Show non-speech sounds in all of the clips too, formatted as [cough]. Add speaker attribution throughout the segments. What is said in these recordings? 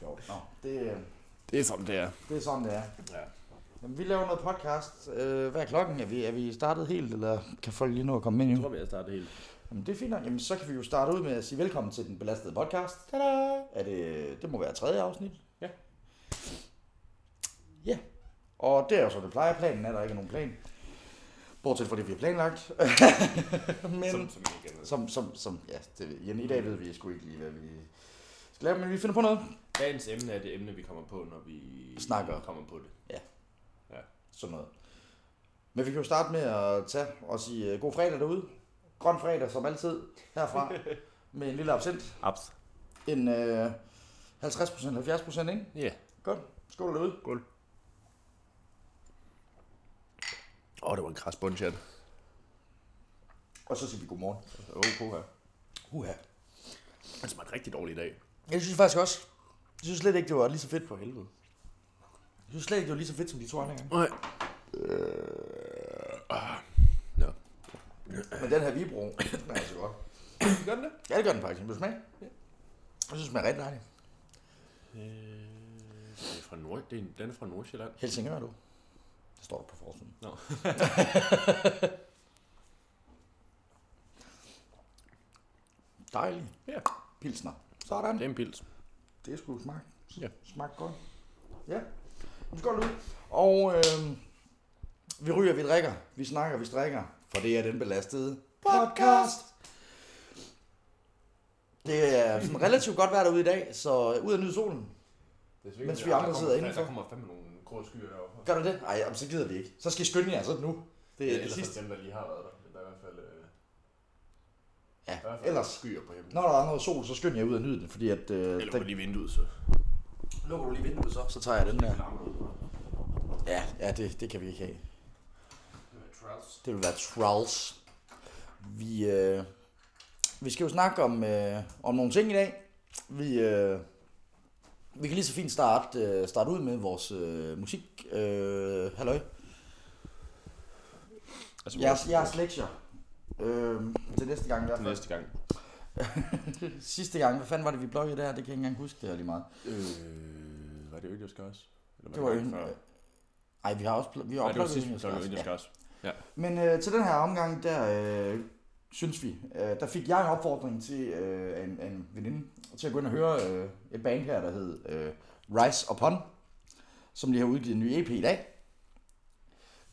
Speaker 1: sjovt. Nå. Det, øh,
Speaker 2: Det er sådan, det er.
Speaker 1: det er sådan, det er.
Speaker 3: Ja.
Speaker 1: Jamen, vi laver noget podcast. Øh, hvad er klokken? Er vi, er vi startet helt, eller kan folk lige nå at komme ind
Speaker 3: Jeg
Speaker 1: endnu?
Speaker 3: tror, vi har startet helt.
Speaker 1: Jamen, det er fint nok. Jamen, så kan vi jo starte ud med at sige velkommen til den belastede podcast. Tada! Er det, det må være tredje afsnit.
Speaker 3: Ja.
Speaker 1: Ja. Og det er jo så det plejer. Planen er, der ikke er nogen plan. Bortset fra det, vi har planlagt. [laughs] men,
Speaker 3: Som,
Speaker 1: som,
Speaker 3: som igen.
Speaker 1: som, som, ja, det, ved- igen, i dag ved vi sgu ikke lige, hvad vi skal lave, men vi finder på noget.
Speaker 3: Dagens emne er det emne, vi kommer på, når vi
Speaker 1: Snakker.
Speaker 3: kommer på det.
Speaker 1: Sådan noget. Men vi kan jo starte med at tage og sige øh, god fredag derude. Grøn fredag, som altid,
Speaker 3: [laughs]
Speaker 1: herfra. med en lille absint.
Speaker 3: Abs.
Speaker 1: En øh, 50%, 70%, ikke?
Speaker 3: Ja.
Speaker 1: Godt. Skål derude.
Speaker 3: Åh, det var en kras bunch, Jan.
Speaker 1: Og så siger vi godmorgen.
Speaker 3: Åh, oh, puha.
Speaker 1: Uha.
Speaker 3: Altså, var en rigtig dårlig dag.
Speaker 1: Jeg synes faktisk også, jeg synes slet ikke, det var lige så fedt.
Speaker 3: For helvede.
Speaker 1: Jeg synes slet ikke, det var lige så fedt som de to andre gange.
Speaker 3: Nej. Øh,
Speaker 1: Men den her Vibro, den er altså godt.
Speaker 3: Gør den det?
Speaker 1: Ja, det gør den faktisk. Vil du smage? Jeg synes, den er rigtig dejlig.
Speaker 3: Øh, det er fra Nord... Det er, den er fra Nordsjælland.
Speaker 1: Helsingør, du. Det står der på forsiden. [laughs]
Speaker 3: Nå.
Speaker 1: dejlig.
Speaker 3: Ja.
Speaker 1: Pilsner. Sådan.
Speaker 3: Det er en pils.
Speaker 1: Det skulle smag.
Speaker 3: Ja.
Speaker 1: Smag godt. Ja. Nu skal ud. Og øh, vi ryger, vi drikker, vi snakker, vi strikker. For det er den belastede podcast. Det er sådan relativt godt vejr derude i dag, så ud at nyde solen. Mens vi andre sidder indenfor.
Speaker 3: Der kommer fandme nogle grå skyer deroppe.
Speaker 1: Gør du det? Nej, jamen, så gider vi ikke. Så skal I skynde jer så nu. Det er ja, det
Speaker 3: ellers
Speaker 1: sidste.
Speaker 3: dem, der lige har været der. Der er i hvert fald... Øh,
Speaker 1: Ja,
Speaker 3: der er i hvert fald
Speaker 1: ellers.
Speaker 3: skyer på himlen.
Speaker 1: Når der er noget sol, så skynd jer ud og nyde den, fordi at... Øh,
Speaker 3: Eller
Speaker 1: den,
Speaker 3: på lige vinduet, så.
Speaker 1: lukker du lige vinduet så, så tager jeg den der. Ja, ja det, det kan vi ikke have.
Speaker 3: øh,
Speaker 1: Det vil være Trolls. Vi, øh, vi skal jo snakke om, øh, om nogle ting i dag. Vi, øh, vi kan lige så fint starte, øh, starte ud med vores øh, musik. Øh, halløj.
Speaker 3: Altså,
Speaker 1: Jeres, jeres lektier. Øh, til næste gang i hvert fald.
Speaker 3: Næste gang.
Speaker 1: Sidste gang, hvad fanden var det, vi bloggede der? Det kan jeg ikke engang huske, det er lige meget.
Speaker 3: Øh, var det Øl, jeg skal også? Eller
Speaker 1: Det var
Speaker 3: gangen før?
Speaker 1: jo... Ej, vi har også pl- vi har
Speaker 3: Nej, det var
Speaker 1: uploadet
Speaker 3: sidste,
Speaker 1: den,
Speaker 3: så var det Øl,
Speaker 1: ja.
Speaker 3: jeg skal også.
Speaker 1: Men øh, til den her omgang, der øh, synes vi, øh, der fik jeg en opfordring til øh, af en, af en veninde, til at gå ind og høre øh, et band her, der hed øh, Rise Upon, som lige har udgivet en ny EP i dag.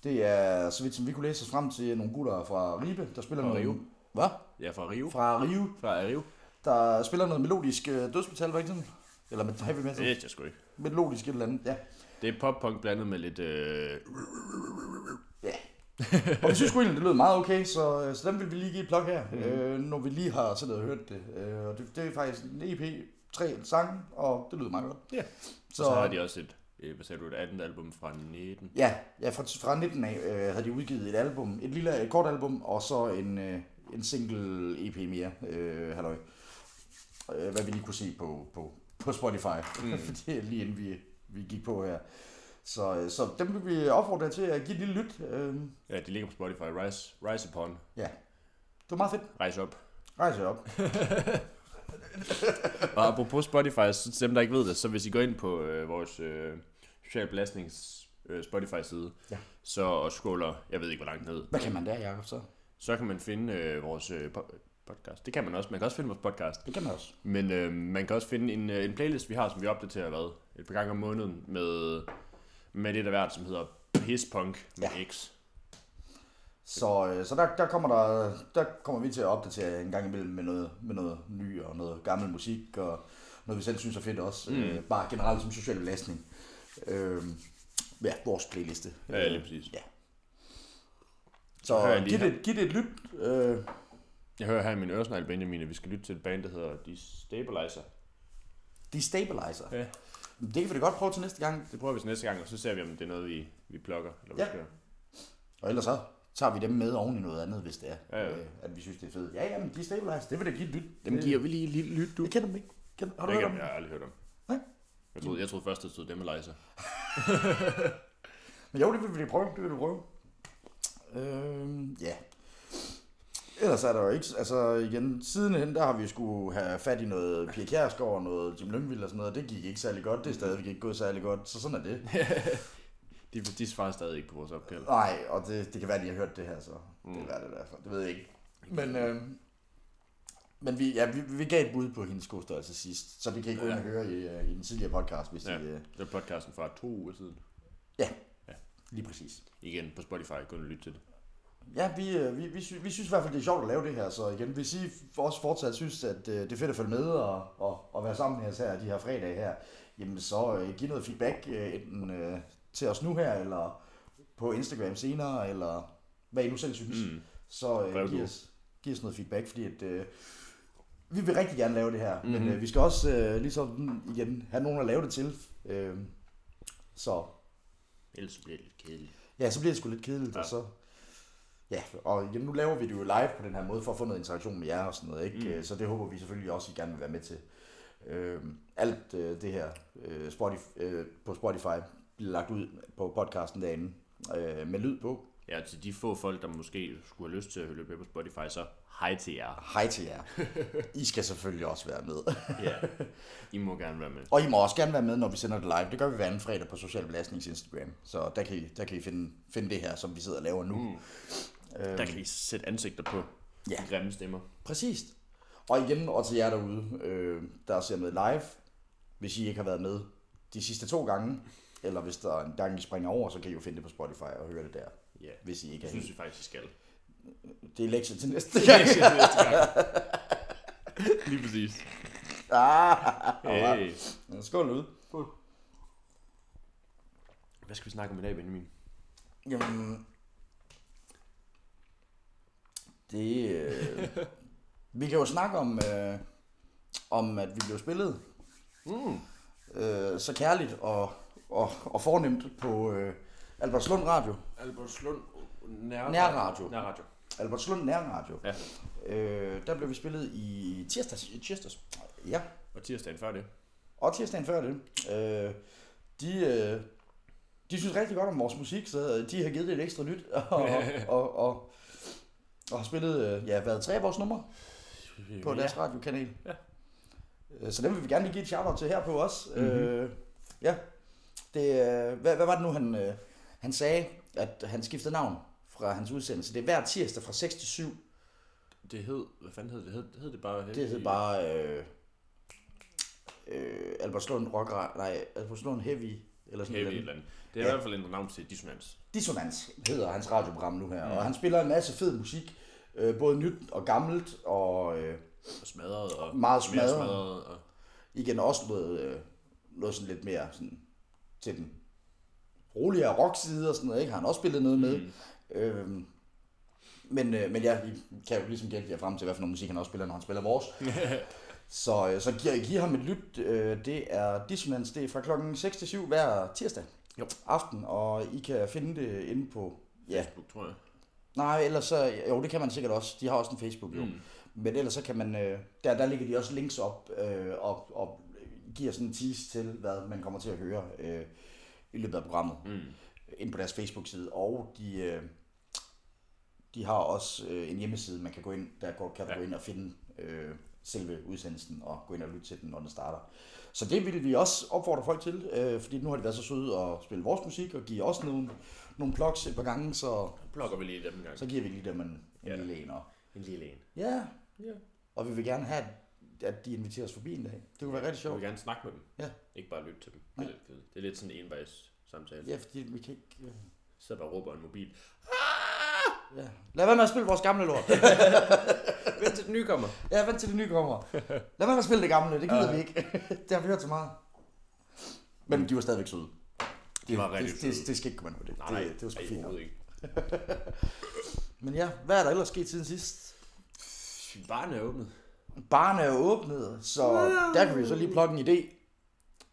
Speaker 1: Det er, så vidt som vi kunne læse os frem til, nogle gutter fra Ribe, der spiller
Speaker 3: Fra
Speaker 1: noget...
Speaker 3: Rio.
Speaker 1: Hvad?
Speaker 3: Ja, fra Rio.
Speaker 1: Fra Rio,
Speaker 3: Fra Rio.
Speaker 1: der spiller noget melodisk øh, dødsmetal, var ikke sådan? Eller med heavy
Speaker 3: Det
Speaker 1: metal?
Speaker 3: ved jeg sgu ikke.
Speaker 1: Melodisk et eller andet, ja.
Speaker 3: Det er pop-punk blandet med lidt... Øh,
Speaker 1: Og vi synes sgu egentlig, det lød meget okay, så, øh, så dem vil vi lige give et plug her, mm. øh, når vi lige har siddet og hørt det. Øh, og det, det er faktisk en EP, tre sange, og det lyder meget godt.
Speaker 3: Ja.
Speaker 1: Så,
Speaker 3: så, så har de også et, øh, hvad sagde du, et andet album fra 19.
Speaker 1: Ja, ja fra, fra 19 af øh, havde de udgivet et album, et lille et kort album, og så en, øh, en single EP mere, øh, halløj. Øh, hvad vi lige kunne se på, på, på Spotify, [laughs] mm. det er lige inden vi, vi gik på her. Så, øh, så dem vil vi opfordre jer til at give et lille lyt. Øh,
Speaker 3: Ja, de ligger på Spotify. Rise, Rise Upon.
Speaker 1: ja, det var meget fedt.
Speaker 3: Rise Up.
Speaker 1: Rejs jer op.
Speaker 3: Og apropos Spotify, så til dem, der ikke ved det, så hvis I går ind på øh, vores øh, Social Belastnings øh, Spotify-side,
Speaker 1: Ja.
Speaker 3: så og scroller, jeg ved ikke, hvor langt ned,
Speaker 1: Hvad kan man der, Jacob, så? så
Speaker 3: så kan man finde øh, vores øh, po- podcast. Det kan man også. Man kan også finde vores podcast.
Speaker 1: Det kan man også.
Speaker 3: Men øh, man kan også finde en, øh, en playlist, vi har, som vi opdaterer hvad, et par gange om måneden med, med det der hvert, som hedder Pisspunk med ja. X.
Speaker 1: Så, øh, så der, der, kommer der, der kommer vi til at opdatere en gang imellem med noget, med noget ny og noget gammel musik, og noget vi selv synes er fedt også, mm. øh, bare generelt som social belastning. Øh, ja, vores playliste.
Speaker 3: Ja, Øh, lige præcis.
Speaker 1: Ja.
Speaker 3: hører
Speaker 1: Så
Speaker 3: jeg lige
Speaker 1: giv det, giv det et lyt. Øh,
Speaker 3: Jeg hører her i min øresnegl, Benjamin, at vi skal lytte til et band, der hedder Destabilizer.
Speaker 1: destabilizer.
Speaker 3: Ja.
Speaker 1: Det kan vi da godt prøve til næste gang.
Speaker 3: Det prøver vi så næste gang, og så ser vi, om det er noget, vi, vi plukker. Eller hvad
Speaker 1: Ja.
Speaker 3: vi skal.
Speaker 1: Og ellers så tager vi dem med oven i noget andet, hvis det er,
Speaker 3: Ja, ja.
Speaker 1: Øh, at vi synes, det er fedt. Ja, ja, men destabilizer, det vil da give et lyt.
Speaker 3: Dem giver vi lige et lille lyt, du.
Speaker 1: Jeg kender dem ikke. Kender, har du
Speaker 3: Jeg,
Speaker 1: hørt om
Speaker 3: kan,
Speaker 1: dem?
Speaker 3: jeg har aldrig hørt om.
Speaker 1: Nej.
Speaker 3: Jeg troede, jeg troede først, det stod [laughs] Demalizer.
Speaker 1: Men jo, det vil vi lige prøve. Det vil vi prøve. Øh, ja. Øhm, Ellers er der jo ikke, altså igen, sidenhen, der har vi skulle have fat i noget Pia Kjærsgaard og noget Jim Lyngvild og sådan noget, det gik ikke særlig godt, det er stadigvæk ikke gået særlig godt, så sådan er det.
Speaker 3: De, de svarer stadig ikke på vores opkald.
Speaker 1: Nej, og det, det kan være, at de har hørt det her, så mm. det er hvad det i hvert fald, det ved jeg ikke. Men, øh, men vi, ja, vi, vi gav et bud på hendes skostørrelse sidst, så det kan I gå ind og høre i, øh, i den tidligere podcast, hvis ja.
Speaker 3: Ja.
Speaker 1: I, øh,
Speaker 3: Det er podcasten fra to uger siden.
Speaker 1: lige præcis.
Speaker 3: Igen på Spotify, gå ind og lytte til det.
Speaker 1: Ja, vi, øh, vi, vi, sy- vi synes i hvert fald, det er sjovt at lave det her, så igen, hvis I f- også fortsat synes, at øh, det er fedt at følge med og, og, og være sammen med os her de her fredage her, jamen så øh, giv noget feedback øh, enten øh, til os nu her, eller på Instagram senere, eller hvad I nu selv synes. Mm.
Speaker 3: Mm.
Speaker 1: Så øh,
Speaker 3: Brev
Speaker 1: giv,
Speaker 3: nu.
Speaker 1: os, giv os noget feedback, fordi at, øh, vi vil rigtig gerne lave det her, mm-hmm. men
Speaker 3: Mhm.
Speaker 1: øh, vi skal også øh, ligesom igen have nogen at lave det til. Øh, så
Speaker 3: Ellers bliver det lidt kedeligt.
Speaker 1: Ja, så bliver det sgu lidt kedeligt, ja.
Speaker 3: Ja.
Speaker 1: og så... Ja, og jamen, nu laver vi det jo live på den her måde, for at få noget interaktion med jer og sådan noget, ikke? Mm. Så det håber vi selvfølgelig også, I gerne vil være med til. Øh, alt øh, det her øh, Spotify, øh, på Spotify bliver lagt ud på podcasten derinde, øh, med lyd på.
Speaker 3: Ja, til de få folk, der måske skulle have lyst til at høre med på Spotify, så hej til jer.
Speaker 1: Hej til jer. I skal selvfølgelig også være med.
Speaker 3: Ja. I må gerne være med.
Speaker 1: Og I må også gerne være med, når vi sender det live. Det gør vi hver anden fredag på Social Belastnings Instagram. Så der kan I, der kan I finde, finde det her, som vi sidder og laver nu. Mm. Øh,
Speaker 3: Der kan I sætte ansigter på.
Speaker 1: Ja.
Speaker 3: Grimme stemmer.
Speaker 1: Præcis. Og igen, og til jer derude, øh, der ser med live, hvis I ikke har været med de sidste to gange, eller hvis der er en gang, I springer over, så kan I jo finde det på Spotify og høre det der,
Speaker 3: Ja.
Speaker 1: hvis I ikke
Speaker 3: Det
Speaker 1: er
Speaker 3: synes vi faktisk, I [laughs] skal.
Speaker 1: Det er lektier til næste
Speaker 3: Ja,
Speaker 1: gang.
Speaker 3: jeg siger det næste gang. Lige præcis.
Speaker 1: ah,
Speaker 3: Hey.
Speaker 1: hey. Skål ud.
Speaker 3: Hvad skal vi snakke om i dag, Benjamin?
Speaker 1: Jamen, det, øh, vi kan jo snakke om, øh, om at vi blev spillet
Speaker 3: Mm.
Speaker 1: øh, så kærligt og, og, og fornemt på øh, Albertslund Radio.
Speaker 3: Albertslund
Speaker 1: Nærradio.
Speaker 3: Nærradio.
Speaker 1: Albertslund Nærradio.
Speaker 3: Ja.
Speaker 1: Øh, der blev vi spillet i tirsdags.
Speaker 3: I tirsdags.
Speaker 1: Ja,
Speaker 3: Og tirsdagen før det.
Speaker 1: og tirsdagen før det. Øh, de, øh, de synes rigtig godt om vores musik, så øh, de har givet det et ekstra lyt. [laughs] Og, og, og, og, og har spillet, øh, ja, været tre af vores numre på
Speaker 3: Ja.
Speaker 1: deres radiokanal.
Speaker 3: Ja.
Speaker 1: Øh, Så dem vil vi gerne lige give et shout-out til her på os. Mm-hmm.
Speaker 3: Mhm.
Speaker 1: Øh, ja. Det, øh, hvad, hvad var det nu, han, øh, han sagde, at han skiftede navn fra hans udsendelse? Det er hver tirsdag fra 6 til 7.
Speaker 3: Det hed, hvad fanden hed det? Hed, hed det bare?
Speaker 1: Det hed bare øh, øh, Albertslund Rock, nej, Albertslund Heavy, eller sådan
Speaker 3: Heavy et
Speaker 1: noget.
Speaker 3: eller andet. Det er
Speaker 1: Ja.
Speaker 3: i hvert fald en navn til dissonans.
Speaker 1: Dissonance hedder hans radioprogram nu her, mm. og han spiller en masse fed musik, øh, både nyt og gammelt, og øh,
Speaker 3: Og smadret og
Speaker 1: Meget
Speaker 3: mere
Speaker 1: smadret.
Speaker 3: smadret og
Speaker 1: igen også noget, øh, noget sådan lidt mere sådan, til den roligere rockside og sådan noget, ikke? har han også spillet noget med. Mm. Øhm, men, øh, men ja, I kan jo ligesom gætte jer frem til, hvad for noget musik han også spiller, når han spiller vores. så, øh, så giver giv ham et lyt. Øh, det er Dissonance, det er fra klokken 6 til 7 hver tirsdag
Speaker 3: Jo.
Speaker 1: aften, og I kan finde det inde på... Ja,
Speaker 3: Facebook, tror jeg.
Speaker 1: nej, ellers så... Jo, det kan man sikkert også. De har også en Facebook, jo. Mm.
Speaker 3: Mm.
Speaker 1: Men ellers så kan man, øh, der, der ligger de også links op øh, og, og giver sådan en tease til, hvad man kommer til at høre øh, i løbet af programmet
Speaker 3: Mm.
Speaker 1: ind på deres Facebook-side. Og de, øh, de har også øh, en hjemmeside, man kan gå ind, der går, kan du
Speaker 3: Ja.
Speaker 1: gå ind og finde øh, selve udsendelsen og gå ind og lytte til den, når den starter. Så det vil vi også opfordre folk til, øh, fordi nu har de været så søde at spille vores musik og give os nogle, nogle plugs et par gange, så,
Speaker 3: Blokker vi lige dem en gang.
Speaker 1: så giver vi lige dem en, en
Speaker 3: Ja.
Speaker 1: lille en. Og,
Speaker 3: En lille en.
Speaker 1: ja,
Speaker 3: Ja.
Speaker 1: og vi vil gerne have, at de inviterer os forbi en dag. Det kunne være rigtig
Speaker 3: Jeg
Speaker 1: sjovt.
Speaker 3: vil gerne snakke med dem.
Speaker 1: Ja.
Speaker 3: Ikke bare lytte til dem. Det er lidt kedeligt. Det er lidt sådan en envejs samtale.
Speaker 1: Ja, fordi vi kan ikke... øh,
Speaker 3: Så bare råber en mobil.
Speaker 1: Ja. Lad være med at spille vores gamle lort.
Speaker 3: Vent til den nye kommer.
Speaker 1: Ja, vent til det nye kommer. Lad være med at spille det gamle, det gider vi ikke. [laughs] det har vi hørt så meget. Men de var stadigvæk søde.
Speaker 3: De var rigtig
Speaker 1: det, det,
Speaker 3: søde.
Speaker 1: det, skal ikke komme an på det.
Speaker 3: Nej, nej.
Speaker 1: det, det var sgu
Speaker 3: Ej,
Speaker 1: fint. nok.
Speaker 3: overhovedet ikke.
Speaker 1: Men ja, hvad er der ellers sket siden sidst?
Speaker 3: Barnet er åbnet.
Speaker 1: Barne er åbnet, så der kan vi så lige plukke en idé,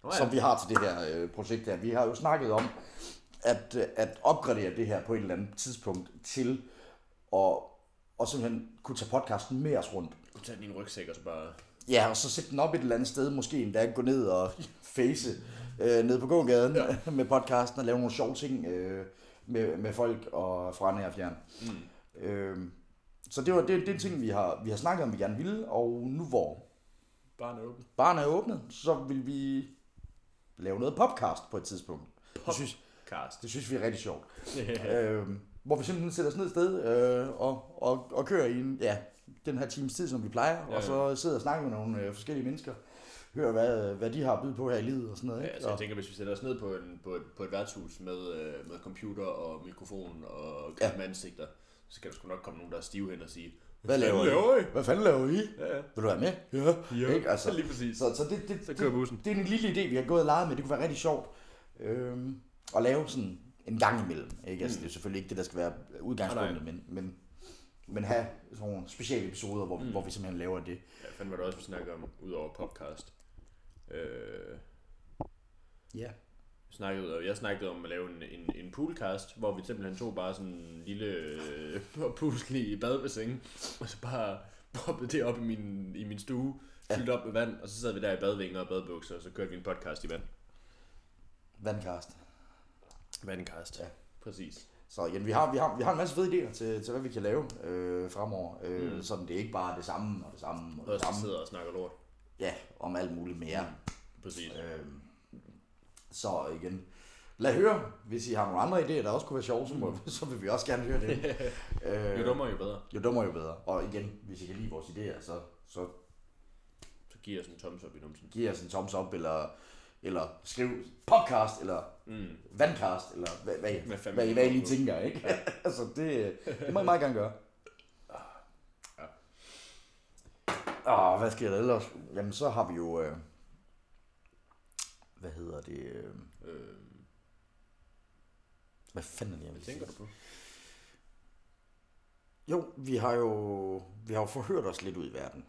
Speaker 3: Nå
Speaker 1: som vi har til det her øh, projekt her. Vi har jo snakket om at, øh, at opgradere det her på et eller andet tidspunkt til at og simpelthen kunne tage podcasten med os rundt.
Speaker 3: Du tager din rygsæk og så bare...
Speaker 1: Ja, og så sætte den op et eller andet sted, måske endda gå ned og [laughs] face øh, ned på gågaden ja. [laughs] med podcasten og lave nogle sjove ting øh, med, med folk og fra nær og fjern. Mm. Øh, Så det var det, det er ting, vi har, vi har snakket om, vi gerne ville, og nu hvor
Speaker 3: Barn er åbent.
Speaker 1: barn er åbnet, så vil vi lave noget podcast på et tidspunkt. Det synes,
Speaker 3: Cast.
Speaker 1: det synes vi er rigtig sjovt. øh, hvor vi simpelthen sætter os ned et sted øh, og, og, og kører i en, ja, den her times tid, som vi plejer, ja,
Speaker 3: Ja,
Speaker 1: og så sidder og snakker med nogle øh, forskellige mennesker, hører, hvad, hvad de har at byde på her i livet og sådan noget.
Speaker 3: Ja,
Speaker 1: Ikke?
Speaker 3: altså, jeg
Speaker 1: og,
Speaker 3: tænker, hvis vi sætter os ned på, en, på, et, på et værtshus med, øh, med computer og mikrofon og
Speaker 1: Ja.
Speaker 3: ja. med ansigter, så kan der sgu nok komme nogen, der er stive hen og sige,
Speaker 1: hvad laver I?
Speaker 3: laver I?
Speaker 1: Hvad fanden laver I?
Speaker 3: Ja, ja.
Speaker 1: Vil du være med? Ja.
Speaker 3: Jo,
Speaker 1: Ikke, altså.
Speaker 3: lige præcis.
Speaker 1: Så, så det, det,
Speaker 3: Så
Speaker 1: det,
Speaker 3: kører bussen.
Speaker 1: det er en lille idé, vi har gået og leget med. Det kunne være rigtig sjovt øh, at lave sådan en gang imellem. Ikke? Altså,
Speaker 3: Mm.
Speaker 1: Det er selvfølgelig ikke det, der skal være udgangspunktet, men, men, men have sådan nogle specielle episoder, hvor, mm. hvor vi simpelthen laver det.
Speaker 3: Ja, fandme var det også, vi snakker om, udover podcast. Øh,
Speaker 1: Ja.
Speaker 3: vi snakkede, jeg snakkede om at lave en, en, en poolcast, hvor vi simpelthen tog bare sådan en lille øh, [laughs] puslig badebassin, og så bare proppede det op i min, i min stue,
Speaker 1: Ja.
Speaker 3: fyldt op med vand, og så sad vi der i badvinger og badebukser, og så kørte vi en podcast i vand.
Speaker 1: Vandcast.
Speaker 3: Vandcast.
Speaker 1: Ja.
Speaker 3: Præcis.
Speaker 1: Så igen, vi har, vi har, vi har en masse fede idéer til, til hvad vi kan lave øh, fremover. Øh, mm.
Speaker 3: Mm.
Speaker 1: Sådan det ikke bare er det samme og det samme og
Speaker 3: Og
Speaker 1: det
Speaker 3: så
Speaker 1: samme.
Speaker 3: sidder Mm. og snakker lort.
Speaker 1: Ja, om alt muligt mere.
Speaker 3: Præcis.
Speaker 1: Øh, så igen, lad høre, hvis I har nogle andre idéer, der også kunne være sjove, så, må, [laughs] så vil vi også gerne høre
Speaker 3: [laughs]
Speaker 1: det.
Speaker 3: Mm. Jo
Speaker 1: øh,
Speaker 3: dummere, jo bedre.
Speaker 1: jo dummere, jo bedre. Og igen, hvis I kan lide vores idéer, så, så
Speaker 3: Så giver jeg sådan en thumbs up i numsen.
Speaker 1: giv os en thumbs up, eller, eller skriv podcast, eller
Speaker 3: Mm.
Speaker 1: vandcast, eller hvad, hvad, I-
Speaker 3: Hvad fanden
Speaker 1: hvad, I-
Speaker 3: vi
Speaker 1: hvad I
Speaker 3: kommer
Speaker 1: lige
Speaker 3: på.
Speaker 1: tænker, ikke? [laughs] altså, det, det må I meget gerne gøre.
Speaker 3: Ja.
Speaker 1: Åh, hvad sker der ellers? Jamen, så har vi jo... Øh, hvad hedder det? Øh,
Speaker 3: Øh,
Speaker 1: hvad fanden er det, jeg
Speaker 3: hvad
Speaker 1: vil sige?
Speaker 3: tænker du på?
Speaker 1: Jo, vi har jo, vi har jo forhørt os lidt ud i verden.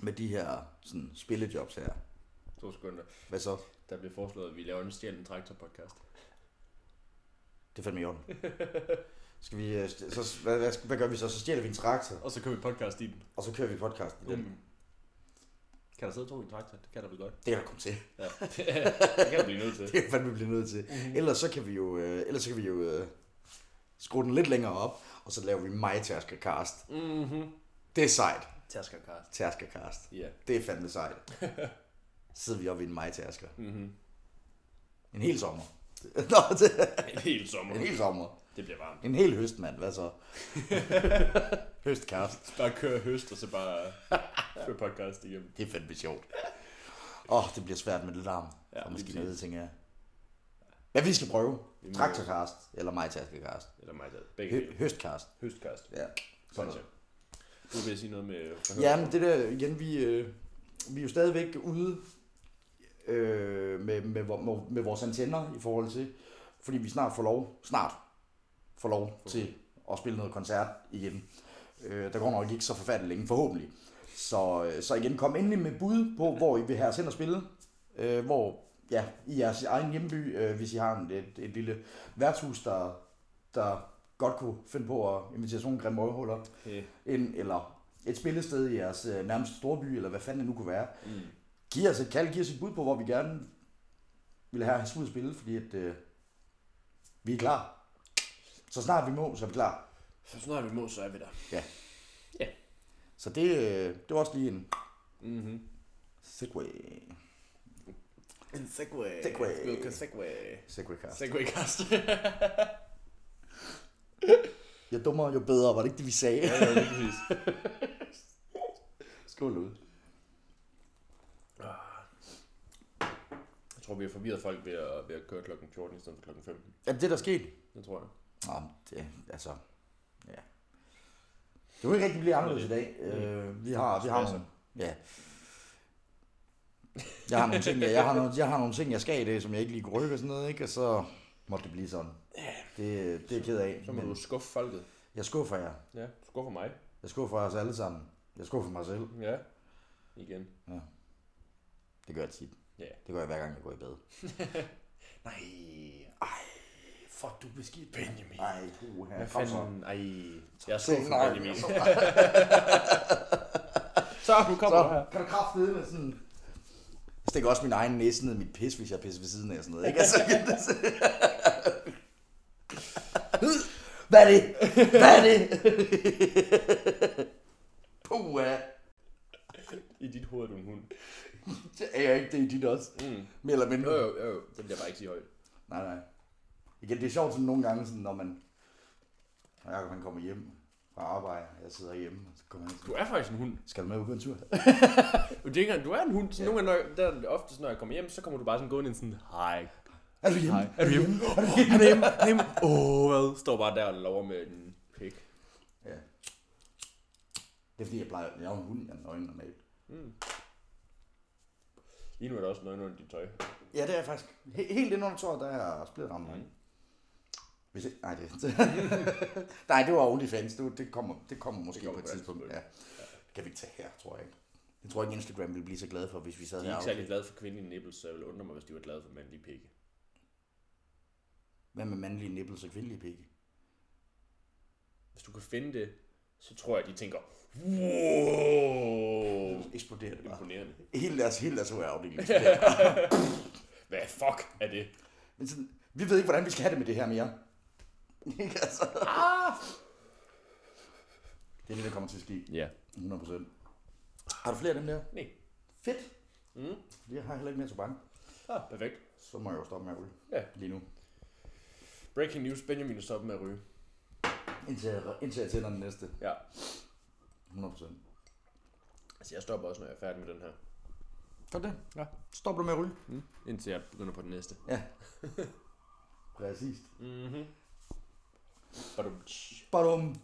Speaker 1: Med de her sådan, spillejobs her.
Speaker 3: To sekunder.
Speaker 1: Hvad så?
Speaker 3: Der bliver foreslået, at vi laver en stjælen traktor podcast.
Speaker 1: Det er fandme i [laughs] orden. Skal vi, øh, st- så, hvad, hvad, hvad, gør vi så? Så stjæler vi en traktor,
Speaker 3: Og så kører vi podcast i den.
Speaker 1: og så kører vi podcast i den.
Speaker 3: Mm. Kan der sidde to i en traktor? Det kan der vel godt.
Speaker 1: Det kan der komme til.
Speaker 3: Ja. [laughs] det kan der blive
Speaker 1: [laughs]
Speaker 3: nødt til.
Speaker 1: Det er fandme vi bliver nødt Mm-hmm. til. Ellers så kan vi jo, øh, ellers så kan vi jo øh, skrue den lidt længere op, og så laver vi mig Cast.
Speaker 3: Mhm.
Speaker 1: Det er sejt.
Speaker 3: Taskercast.
Speaker 1: Cast.
Speaker 3: Ja.
Speaker 1: Det er fandme [laughs] sejt. Så sidder vi oppe i en mig
Speaker 3: Mhm.
Speaker 1: En hel sommer. [laughs] Nå, det
Speaker 3: En hel sommer.
Speaker 1: en hel sommer.
Speaker 3: Det bliver varmt.
Speaker 1: En hel høst, mand. Hvad så? [laughs] Høstkast.
Speaker 3: Så bare køre høst, og så bare køre podcast igennem.
Speaker 1: Det er fandme sjovt. Åh, oh, det bliver svært med lidt larm. Ja,
Speaker 3: Ja,
Speaker 1: og
Speaker 3: lige
Speaker 1: måske
Speaker 3: præcis.
Speaker 1: noget, tænker jeg. Ja, vi skal prøve.
Speaker 3: Vi må-
Speaker 1: Traktorkast, eller majtaskekast.
Speaker 3: Eller mig der. Begge
Speaker 1: Hø-
Speaker 3: dele.
Speaker 1: høstkast.
Speaker 3: Høstkast.
Speaker 1: Ja, sådan noget.
Speaker 3: Gotcha. Du vil sige noget med forhør?
Speaker 1: Ja, men det der, igen, vi, øh, vi er jo stadigvæk ude øh, med, med, vo- med vores antenner i forhold til, fordi vi snart får lov, snart får lov okay. til at spille noget koncert igen. Øh, der går nok ikke så forfærdeligt længe, forhåbentlig. Så, øh, så igen, kom endelig med bud på, hvor I vil have os hen og spille. Øh, hvor, ja, i jeres egen hjemby, øh, hvis I har en, et, et lille værtshus, der, der godt kunne finde på at invitere sådan nogle grimme røvhuller
Speaker 3: Hey.
Speaker 1: ind, eller et spillested i jeres øh, nærmeste storby, eller hvad fanden det nu kunne være.
Speaker 3: Mm.
Speaker 1: Giv os et kald, giv os et bud på, hvor vi gerne vil have os ud at spille, fordi at, øh, vi er klar. Så snart vi må, så er vi klar.
Speaker 3: Så snart vi må, så er vi der.
Speaker 1: Så det, øh, det var også lige en
Speaker 3: Mhm.
Speaker 1: segway.
Speaker 3: En segway.
Speaker 1: Segway.
Speaker 3: Vi kan segway.
Speaker 1: segway cast.
Speaker 3: [laughs] Segway-kast.
Speaker 1: Jo dummere, jo bedre, var det ikke det, vi sagde?
Speaker 3: ja, ja, lige præcis.
Speaker 1: Skål ud.
Speaker 3: Jeg tror, vi har forvirret folk ved at, ved at køre klokken 14 i stedet for klokken 15.
Speaker 1: Er det det, der skete?
Speaker 3: Det tror jeg.
Speaker 1: Nå, det, altså, ja. Det kunne ikke rigtig blive anderledes i dag. Øh, vi har, vi har nogle, ja. Jeg har, nogle ting, jeg, jeg, har nogle, jeg har nogle ting, jeg skal i dag, som jeg ikke lige kunne rykke og sådan noget, ikke? Og så måtte det blive sådan. Det, det er jeg ked af.
Speaker 3: Så må
Speaker 1: men
Speaker 3: du skuffe folket.
Speaker 1: Jeg skuffer jer.
Speaker 3: Ja, skuffer mig.
Speaker 1: Jeg skuffer os alle sammen. Jeg skuffer mig selv.
Speaker 3: Ja. Igen.
Speaker 1: Det gør jeg tit.
Speaker 3: Ja.
Speaker 1: Det gør jeg hver gang, jeg går i bad.
Speaker 3: Nej. Ej. Fuck, du beskidt Benjamin.
Speaker 1: Ej, uha.
Speaker 3: Hvad
Speaker 1: Kom så.
Speaker 3: fanden? Ej. Jeg er så
Speaker 1: Se, nej,
Speaker 3: Benjamin.
Speaker 1: jeg er
Speaker 3: Så, nu kommer du her.
Speaker 1: Så kan du kraftede med sådan... Jeg stikker Altså, også min egen næse ned i mit pis, [laughs] hvis jeg pisser ved siden af og sådan noget. Ikke? Altså, det, Hvad er det? Hvad er [laughs] det? Puh, ja.
Speaker 3: I dit hoved er du en hund.
Speaker 1: Det er jeg ikke, det er dit også.
Speaker 3: Mm.
Speaker 1: Mere eller mindre.
Speaker 3: Jo, jo, jo, jo. Det vil jeg bare ikke sige højt.
Speaker 1: Nej, nej. Igen, det er sjovt sådan nogle gange, sådan, når man... Når Jacob han kommer hjem fra arbejde, og jeg sidder hjemme, og så kommer han
Speaker 3: Du
Speaker 1: sådan,
Speaker 3: er faktisk en hund.
Speaker 1: skal du med ud på en tur?
Speaker 3: Du, tænker, du er en hund. Så nogle gange, når, der, er det oftest, når jeg kommer hjem, så kommer du bare sådan gående ind sådan, [laughs] hej.
Speaker 1: Er du hjemme?
Speaker 3: Hej. Er du hjemme?
Speaker 1: Er du hjemme?
Speaker 3: Han er hjemme. Han er hjemme. Åh, hvad? Står bare der og lover med en pik.
Speaker 1: Ja. Det er fordi, jeg plejer... Jeg er jo en hund, jeg er nøgen normalt.
Speaker 3: Mm. Lige nu er der også noget under dit tøj.
Speaker 1: Ja, det er jeg faktisk. He- helt ind under tåret, der er splittet ramme.
Speaker 3: Mhm.
Speaker 1: Mm. Hvis ikke, nej, det, [laughs] nej, det var OnlyFans. Det, var- det, kommer, det kommer måske
Speaker 3: Det
Speaker 1: det kommer på
Speaker 3: kommer
Speaker 1: et
Speaker 3: på et
Speaker 1: tidspunkt.
Speaker 3: tidspunkt.
Speaker 1: Ja. Det kan vi ikke tage her, tror jeg ikke. Det tror jeg ikke, Instagram ville blive så glad for, hvis vi sad
Speaker 3: De er
Speaker 1: her.
Speaker 3: ikke særlig
Speaker 1: afsnit.
Speaker 3: glade for kvindelige nipples, så jeg vil undre mig, hvis de var glade for mandlige pikke.
Speaker 1: Hvad med mandlige nipples og kvindelige pikke?
Speaker 3: Hvis du kan finde det, så tror jeg, de tænker, wow,
Speaker 1: Eksploderer det bare.
Speaker 3: [laughs] imponerende.
Speaker 1: Hele deres, hele deres HR-afdeling [laughs] eksploderer.
Speaker 3: Hvad fuck er det?
Speaker 1: Men sådan, vi ved ikke, hvordan vi skal have det med det her mere. [laughs] Ikke altså? Det er det, der kommer til at ske.
Speaker 3: Ja.
Speaker 1: 100%. Har du flere af dem der?
Speaker 3: Nej.
Speaker 1: Fedt.
Speaker 3: Mm.
Speaker 1: Fordi jeg har heller ikke mere tobak.
Speaker 3: Ah, perfekt.
Speaker 1: Så må jeg jo stoppe med at ryge.
Speaker 3: Ja.
Speaker 1: Lige nu.
Speaker 3: Breaking news, Benjamin er stoppet med at ryge.
Speaker 1: Indtil jeg, indtil jeg tænder den næste.
Speaker 3: Ja.
Speaker 1: 100%.
Speaker 3: Altså, jeg stopper også, når jeg er færdig med den her.
Speaker 1: Gør det?
Speaker 3: Ja.
Speaker 1: Stopper du med at ryge?
Speaker 3: Mm. Indtil jeg begynder på den næste. [laughs]
Speaker 1: Ja. Præcis.
Speaker 3: Mhm. Badum.
Speaker 1: Badum.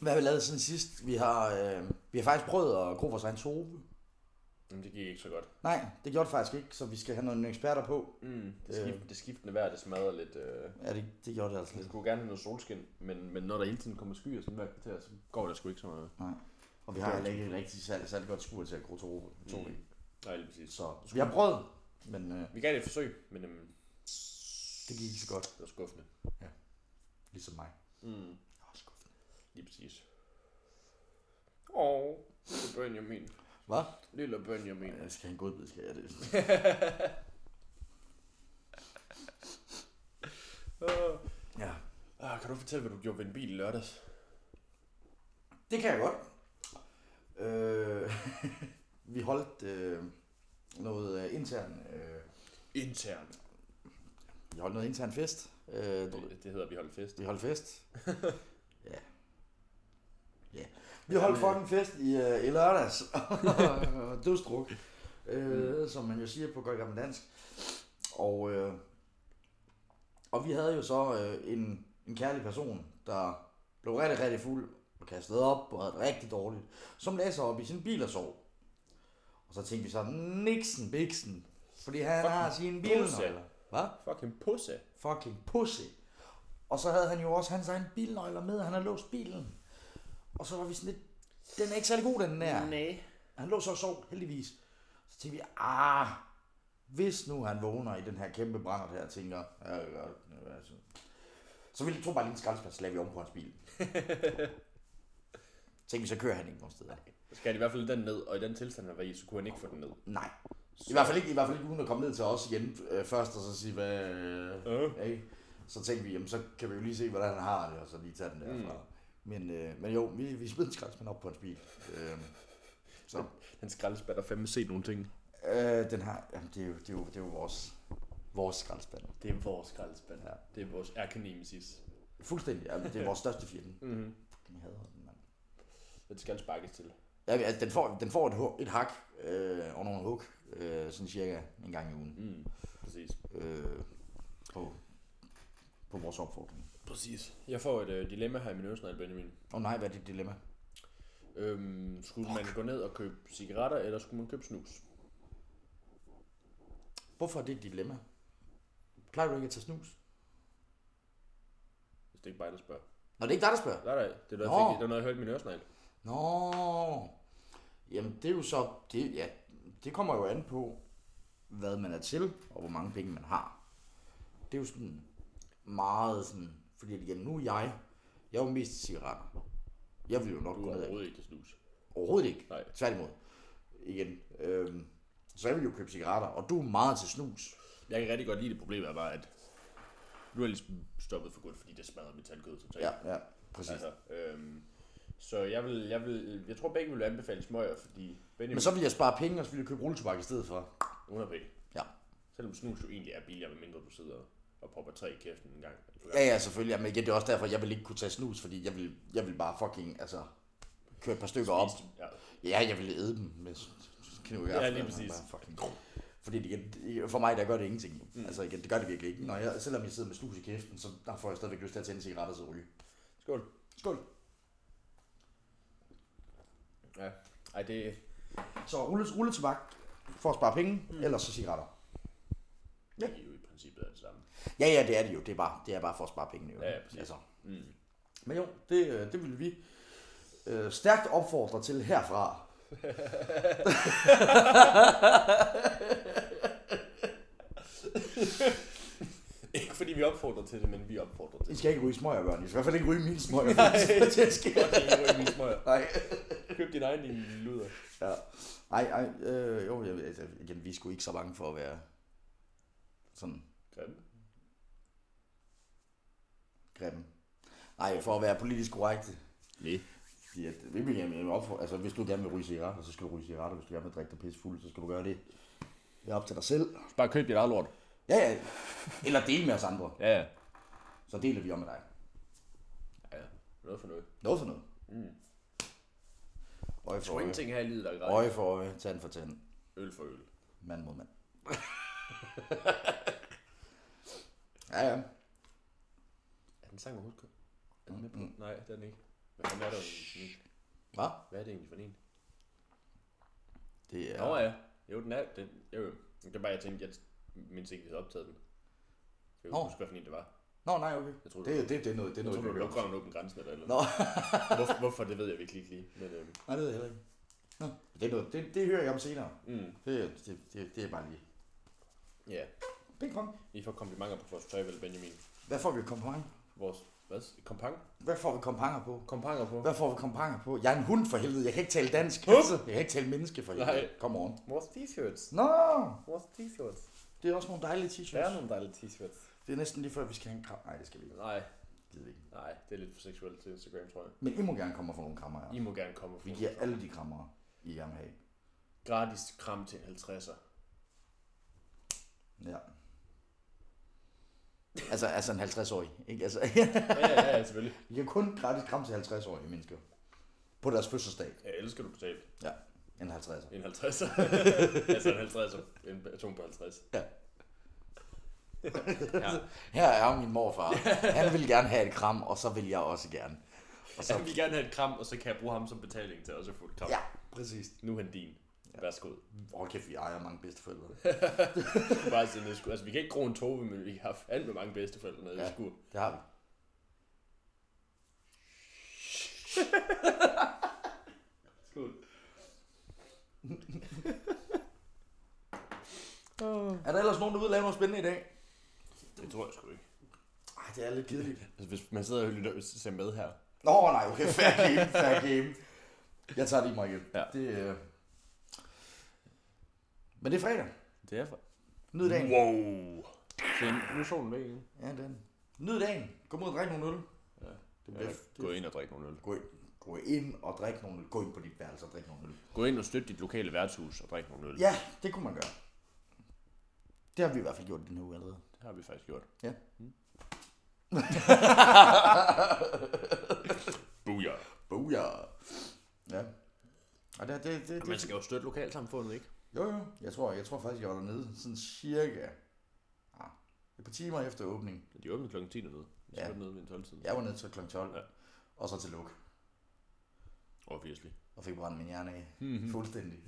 Speaker 1: Hvad har vi lavet siden sidst? Vi har, øh, vi har faktisk prøvet at gro vores egen sove.
Speaker 3: Jamen, det gik ikke så godt.
Speaker 1: Nej, det gjorde det faktisk ikke, så vi skal have nogle eksperter på.
Speaker 3: Mm. Det,
Speaker 1: Øh.
Speaker 3: skift, det skiftende vejr, det smadrer lidt. Øh.
Speaker 1: Ja, det, det gjorde det altså
Speaker 3: Jeg
Speaker 1: lidt.
Speaker 3: skulle gerne have noget solskin, men, men når der hele tiden kommer skyer sådan hver kvarter, så går der sgu ikke så meget.
Speaker 1: Nej. Og vi har heller ikke et rigtig særlig, særlig godt skur til at gro tove. Mm.
Speaker 3: Nej, lige præcis.
Speaker 1: Så vi har prøvet, men øh,
Speaker 3: Vi gav det et forsøg, men øhm,
Speaker 1: det gik ikke så godt,
Speaker 3: det var skuffende.
Speaker 1: ligesom mig.
Speaker 3: Mm.
Speaker 1: Jeg var skuffet.
Speaker 3: Lige præcis. Åh, lille Benjamin.
Speaker 1: Hvad?
Speaker 3: Lille Benjamin.
Speaker 1: Jeg skal have en godbid, skal jeg det.
Speaker 3: Ah,
Speaker 1: Ja.
Speaker 3: ah, kan du fortælle, hvad du gjorde ved en bil i lørdags?
Speaker 1: Det kan jeg godt. Øh, [laughs] vi holdt øh, noget øh, intern, øh,
Speaker 3: Intern.
Speaker 1: vi holdt noget intern fest. Øh, du-
Speaker 3: Det, det hedder, vi holdt fest.
Speaker 1: vi holdt [laughs] fest. ja. Ja. Vi holdt fucking fest i, øh, i [laughs] lørdags. Dødsdruk. Øh, som man jo siger på godt gammel dansk. Og, øh, og vi havde jo så øh, en, en kærlig person, der blev rigtig, rigtig fuld og kastede op og havde det rigtig dårligt, som lagde sig op i sin bil og sov. Og så tænkte vi så, niksen, biksen, fordi han
Speaker 3: Fucking
Speaker 1: har sin bil.
Speaker 3: pusse.
Speaker 1: Hvad?
Speaker 3: Fucking pusse.
Speaker 1: fucking pussy. Og så havde han jo også hans egen bilnøgler med, han havde låst bilen. Og så var vi sådan lidt, den er ikke særlig god, den der.
Speaker 3: Nej.
Speaker 1: Han lå så og sov, heldigvis. Så tænkte vi, ah, hvis nu han vågner i den her kæmpe brændert her, tænker, ja, ja, ja, altså. så ville vi tog bare lige en skraldspand, så lavede vi om på hans bil. tænkte vi, så kører han ikke nogen steder.
Speaker 3: Så skal han i hvert fald den ned, og i den tilstand, han var i, så kunne han ikke få den ned.
Speaker 1: Nej. I hvert fald ikke, i hvert fald ikke uden at komme ned til os igen øh, først, og så sige, hvad... Øh,
Speaker 3: Øh.
Speaker 1: Ja, ikke? Så tænkte vi, jamen, så kan vi jo lige se, hvordan han har det, og så lige tage den derfra. Mm. Men, øh, men jo, vi, vi smed en skraldspand op på hans bil. Øh, så
Speaker 3: Den skraldespand har fandme set nogle ting.
Speaker 1: øh, den har, jamen, det, er jo, det, er jo, det er jo vores, vores skraldespand.
Speaker 3: Det er vores skraldespand.
Speaker 1: Ja.
Speaker 3: Det er vores erkenemesis.
Speaker 1: Fuldstændig, jamen, det er vores største fjende.
Speaker 3: Mm-hmm.
Speaker 1: Jeg hader den, mand.
Speaker 3: Den skal sparkes til.
Speaker 1: Ja, altså, den får, den får et, hu- et hak øh, og nogle hug, øh, sådan cirka en gang i ugen,
Speaker 3: Mm. Præcis.
Speaker 1: øh, på, på vores opfordring.
Speaker 3: Præcis. Jeg får et øh, dilemma her i min øvelsesnegl, Benjamin.
Speaker 1: Åh oh, nej, hvad er dit dilemma?
Speaker 3: Øhm, skulle man gå ned og købe cigaretter, eller skulle man købe snus?
Speaker 1: Hvorfor er det et dilemma? Plejer du ikke at tage snus?
Speaker 3: Hvis det ikke bare der spørger.
Speaker 1: Nå, det er ikke dig, der spørger.
Speaker 3: Nej, nej. Det er noget,
Speaker 1: Nå.
Speaker 3: jeg, fik, det er noget, jeg hørte i min øresnegl.
Speaker 1: Nå. Jamen, det er jo så... Det, ja, det kommer jo an på, hvad man er til, og hvor mange penge man har. Det er jo sådan meget sådan... Fordi at igen, nu er jeg... Jeg er jo mest til cigaretter. Jeg vil jo nok
Speaker 3: Du
Speaker 1: gå
Speaker 3: er
Speaker 1: ned af.
Speaker 3: overhovedet ikke til snus.
Speaker 1: Overhovedet ikke.
Speaker 3: Nej.
Speaker 1: Tværtimod. Igen. Øhm, så jeg vil jo købe cigaretter, og du er meget til snus.
Speaker 3: Jeg kan rigtig godt lide det problem, er bare, at Nu er jeg ligesom stoppet for godt, fordi det smadrer metalkød totalt.
Speaker 1: Ja, ja, præcis.
Speaker 3: Altså, øhm, så jeg vil, jeg vil, jeg tror begge vil anbefale smøger, fordi Benjamin
Speaker 1: Men så vil jeg spare penge, og så vil jeg købe rulletobak i stedet for.
Speaker 3: 100 p.
Speaker 1: Ja.
Speaker 3: Selvom snus jo egentlig er billigere, medmindre du sidder og popper tre i kæften en gang.
Speaker 1: Ja, ja, selvfølgelig. Men igen, det er også derfor, jeg vil ikke kunne tage snus, fordi jeg vil, jeg vil bare fucking, altså, køre et par stykker op.
Speaker 3: Ja.
Speaker 1: Ja, jeg vil æde dem med kniv i
Speaker 3: Ja,
Speaker 1: aften,
Speaker 3: lige
Speaker 1: altså,
Speaker 3: præcis.
Speaker 1: bare Fucking. Fordi det, igen, det- for mig, der gør det ingenting. Mm. Altså igen, det gør det virkelig ikke. Når jeg, selvom jeg sidder med snus i kæften, så der får jeg stadigvæk lyst til at tænde en cigaret og så ryge.
Speaker 3: Skål.
Speaker 1: Skål.
Speaker 3: Ja. Ej, det,
Speaker 1: Så rulle, rulle tobak for at spare penge, mm. ellers så cigaretter.
Speaker 3: ja. det er jo i princippet det samme.
Speaker 1: Ja, ja, det er det jo. Det er bare, det er bare for at spare penge. Jo.
Speaker 3: Ja, ja, præcis.
Speaker 1: altså.
Speaker 3: Mm.
Speaker 1: Men jo, det, øh, det vil vi øh, stærkt opfordre til herfra.
Speaker 3: [laughs] Ikke fordi vi opfordrer til det, men vi opfordrer til
Speaker 1: I
Speaker 3: det.
Speaker 1: skal ikke ryge smøger, børn. I skal i hvert fald ikke ryge mine smøger.
Speaker 3: [laughs]
Speaker 1: Nej. Det sker.
Speaker 3: Godt, at I røg min smøger.
Speaker 1: Nej.
Speaker 3: Køb din egen din luder.
Speaker 1: Ja. Ej, ej, øh, jo, jeg, ved- altså, igen, vi er sgu ikke så bange for at være sådan
Speaker 3: Grimme.
Speaker 1: grimme. Nej, for at være politisk korrekte.
Speaker 3: Nej.
Speaker 1: Fordi at, vi vil gerne op for, altså hvis du gerne vil ryge cigaretter, så skal du ryge cigaretter. Hvis du gerne vil drikke dig pisse fuld, så skal du gøre det. Det er op til dig selv.
Speaker 3: Bare køb dit eget lort.
Speaker 1: Ja, ja. Eller del med os andre.
Speaker 3: Ja, ja.
Speaker 1: Så deler vi om med dig.
Speaker 3: Ja, noget for noget.
Speaker 1: Noget for noget. Mm. Øje
Speaker 3: Der
Speaker 1: for
Speaker 3: er jo
Speaker 1: øje.
Speaker 3: ingenting her i livet, der er gratis.
Speaker 1: Øje for øje. Tand for tand.
Speaker 3: Øl for øl.
Speaker 1: Mand mod mand. ja, ja.
Speaker 3: Er den sang, jeg husker? Er den med på? Nej, det er den ikke. Hvad fanden er det egentlig for en?
Speaker 1: Hvad?
Speaker 3: Hvad er det egentlig for en?
Speaker 1: Det er...
Speaker 3: Nå ja. Jo, den er. Den, jo, jo. Det er bare, jeg tænkte, jeg mindste ikke, vi havde optaget den. Jeg kan
Speaker 1: Nå.
Speaker 3: ikke huske, hvad for en det var.
Speaker 1: Nå, nej, okay.
Speaker 3: Jeg tror,
Speaker 1: Det, det, det er noget, det er
Speaker 3: Jeg tror,
Speaker 1: noget,
Speaker 3: du
Speaker 1: vi
Speaker 3: lukker
Speaker 1: gør.
Speaker 3: om åbne grænsen eller et eller
Speaker 1: Nå,
Speaker 3: andet. Hvorfor, hvorfor, det ved jeg virkelig ikke lige. Men, øhm,
Speaker 1: nej, det ved jeg heller ikke. Nå, det, er noget, det, det hører jeg om senere.
Speaker 3: mm,
Speaker 1: Det, det, det, det er bare lige.
Speaker 3: ja.
Speaker 1: Ping pong.
Speaker 3: I får komplimenter på vores tøj, vel, Benjamin.
Speaker 1: Hvad får vi kompang?
Speaker 3: Vores, hvad? Kompang?
Speaker 1: Hvad får vi kompanger på?
Speaker 3: Kompanger på.
Speaker 1: Hvad får vi kompanger på? Jeg er en hund for helvede. Jeg kan ikke tale dansk. Altså. Jeg kan ikke tale menneske for helvede.
Speaker 3: Nej.
Speaker 1: Kom on.
Speaker 3: Vores t-shirts.
Speaker 1: Nå,
Speaker 3: Vores t-shirts.
Speaker 1: det er også nogle dejlige
Speaker 3: Der er
Speaker 1: t-shirts.
Speaker 3: nogle dejlige t-shirts.
Speaker 1: Det er næsten lige før, vi skal have en kram. Nej, det skal vi ikke.
Speaker 3: Nej,
Speaker 1: Gider vi ikke.
Speaker 3: nej, det er lidt for seksuelt til Instagram, tror jeg.
Speaker 1: Men I må gerne komme og få nogle krammer.
Speaker 3: I
Speaker 1: Ja.
Speaker 3: må gerne komme og få
Speaker 1: Vi giver alle de krammer, I gerne vil have.
Speaker 3: gratis kram til
Speaker 1: [laughs]
Speaker 3: en 50'er.
Speaker 1: Ja. Altså, altså en 50-årig. Ikke? Altså, [laughs]
Speaker 3: Ja, ja, ja, selvfølgelig.
Speaker 1: I kan kun gratis kram til 50-årige mennesker. På deres fødselsdag.
Speaker 3: Jeg elsker, du betalte
Speaker 1: Ja, en 50'er.
Speaker 3: en 50'er.
Speaker 1: [laughs]
Speaker 3: altså en 50'er. En person på 50.
Speaker 1: Ja.
Speaker 3: Ja.
Speaker 1: Her er min morfar. Han vil gerne have et kram, og så vil jeg også gerne. Og
Speaker 3: Så
Speaker 1: så,
Speaker 3: vil vi gerne have et kram, og så kan jeg bruge ham som betaling til også at få et kram.
Speaker 1: ja, præcis.
Speaker 3: Nu er han din. Værsgo.
Speaker 1: Åh, kæft, vi ejer mange bedsteforældre.
Speaker 3: Du kan bare sidde nede i skur. Altså, vi kan ikke gro en tove, men vi har fandme mange bedsteforældre nede
Speaker 1: Ja.
Speaker 3: i skur.
Speaker 1: Det har vi.
Speaker 3: Skål.
Speaker 1: Er der ellers nogen derude, der laver noget spændende i dag?
Speaker 3: Det tror jeg sgu ikke.
Speaker 1: Ej, det er lidt kedeligt.
Speaker 3: Altså, hvis man sidder og lytter og ser med her.
Speaker 1: Nå, nej, okay, fair game, fair game. Jeg tager lige mig igen.
Speaker 3: Ja.
Speaker 1: Det, øh... Men det er fredag.
Speaker 3: Det er for...
Speaker 1: Nyd dagen.
Speaker 3: Wow. nu er solen væk igen.
Speaker 1: Ja, den. Nyd dagen. Gå ud og drik nogle øl.
Speaker 3: Ja.
Speaker 1: Det
Speaker 3: Ja,
Speaker 1: bliver,
Speaker 3: gå
Speaker 1: det,
Speaker 3: ind og drik nogle øl.
Speaker 1: gå, ind, gå ind og drik nogle øl. Gå ind på dit værelse og drik nogle øl.
Speaker 3: Gå ind og støt dit lokale værtshus og drik nogle øl.
Speaker 1: Ja, det kunne man gøre. Det har vi i hvert fald gjort i den her uge allerede.
Speaker 3: Det har vi faktisk gjort.
Speaker 1: Ja.
Speaker 3: [laughs] Booyah. altså-
Speaker 1: Booyah. Ja. Og det, det, det,
Speaker 3: Man
Speaker 1: det,
Speaker 3: skal jo støtte lokalsamfundet, ikke?
Speaker 1: jo, jo. Jeg tror, jeg tror faktisk, jeg var dernede sådan cirka ah, et par timer efter åbning.
Speaker 3: De åbner klokken 10 dernede. Så
Speaker 1: Ja.
Speaker 3: er det nede ved en 12 tiden.
Speaker 1: Jeg var nede til kl. 12.
Speaker 3: Ja.
Speaker 1: Og så til luk.
Speaker 3: Obviously.
Speaker 1: Og fik brændt min hjerne af. Mm-hmm. Fuldstændig.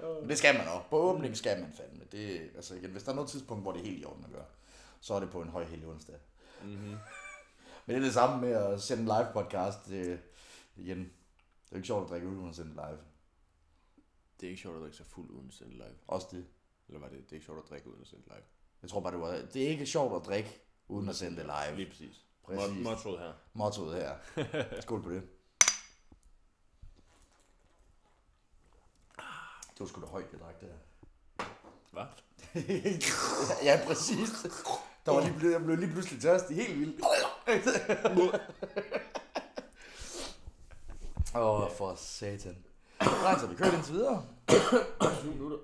Speaker 1: Men det skal man også. På åbning skal man fandme. Det, altså igen, hvis der er noget tidspunkt, hvor det er helt i orden at gøre, så er det på en høj hellig onsdag.
Speaker 3: Mm-hmm.
Speaker 1: Men det er det samme med at sende en live podcast. Det, igen, det er jo ikke sjovt at drikke øl, uden at sende det live.
Speaker 3: Det er ikke sjovt at drikke sig fuld uden at sende live.
Speaker 1: Også det.
Speaker 3: Eller var det, det er ikke sjovt at drikke uden at sende live?
Speaker 1: Jeg tror bare, det var... Det er ikke sjovt at drikke, uden at sende det live.
Speaker 3: Lige præcis.
Speaker 1: Præcis.
Speaker 3: Præcis. Mottoet her.
Speaker 1: Mottoet her. Skål på det. Ah, Det var [laughs] sgu da højt, jeg drak det her.
Speaker 3: Hvad?
Speaker 1: ja, præcis.
Speaker 2: Der var lige, ble- jeg blev lige pludselig tørstig, helt vildt.
Speaker 1: Åh, oh, for satan. Nej, så vi kørt indtil videre.
Speaker 3: 20 minutter.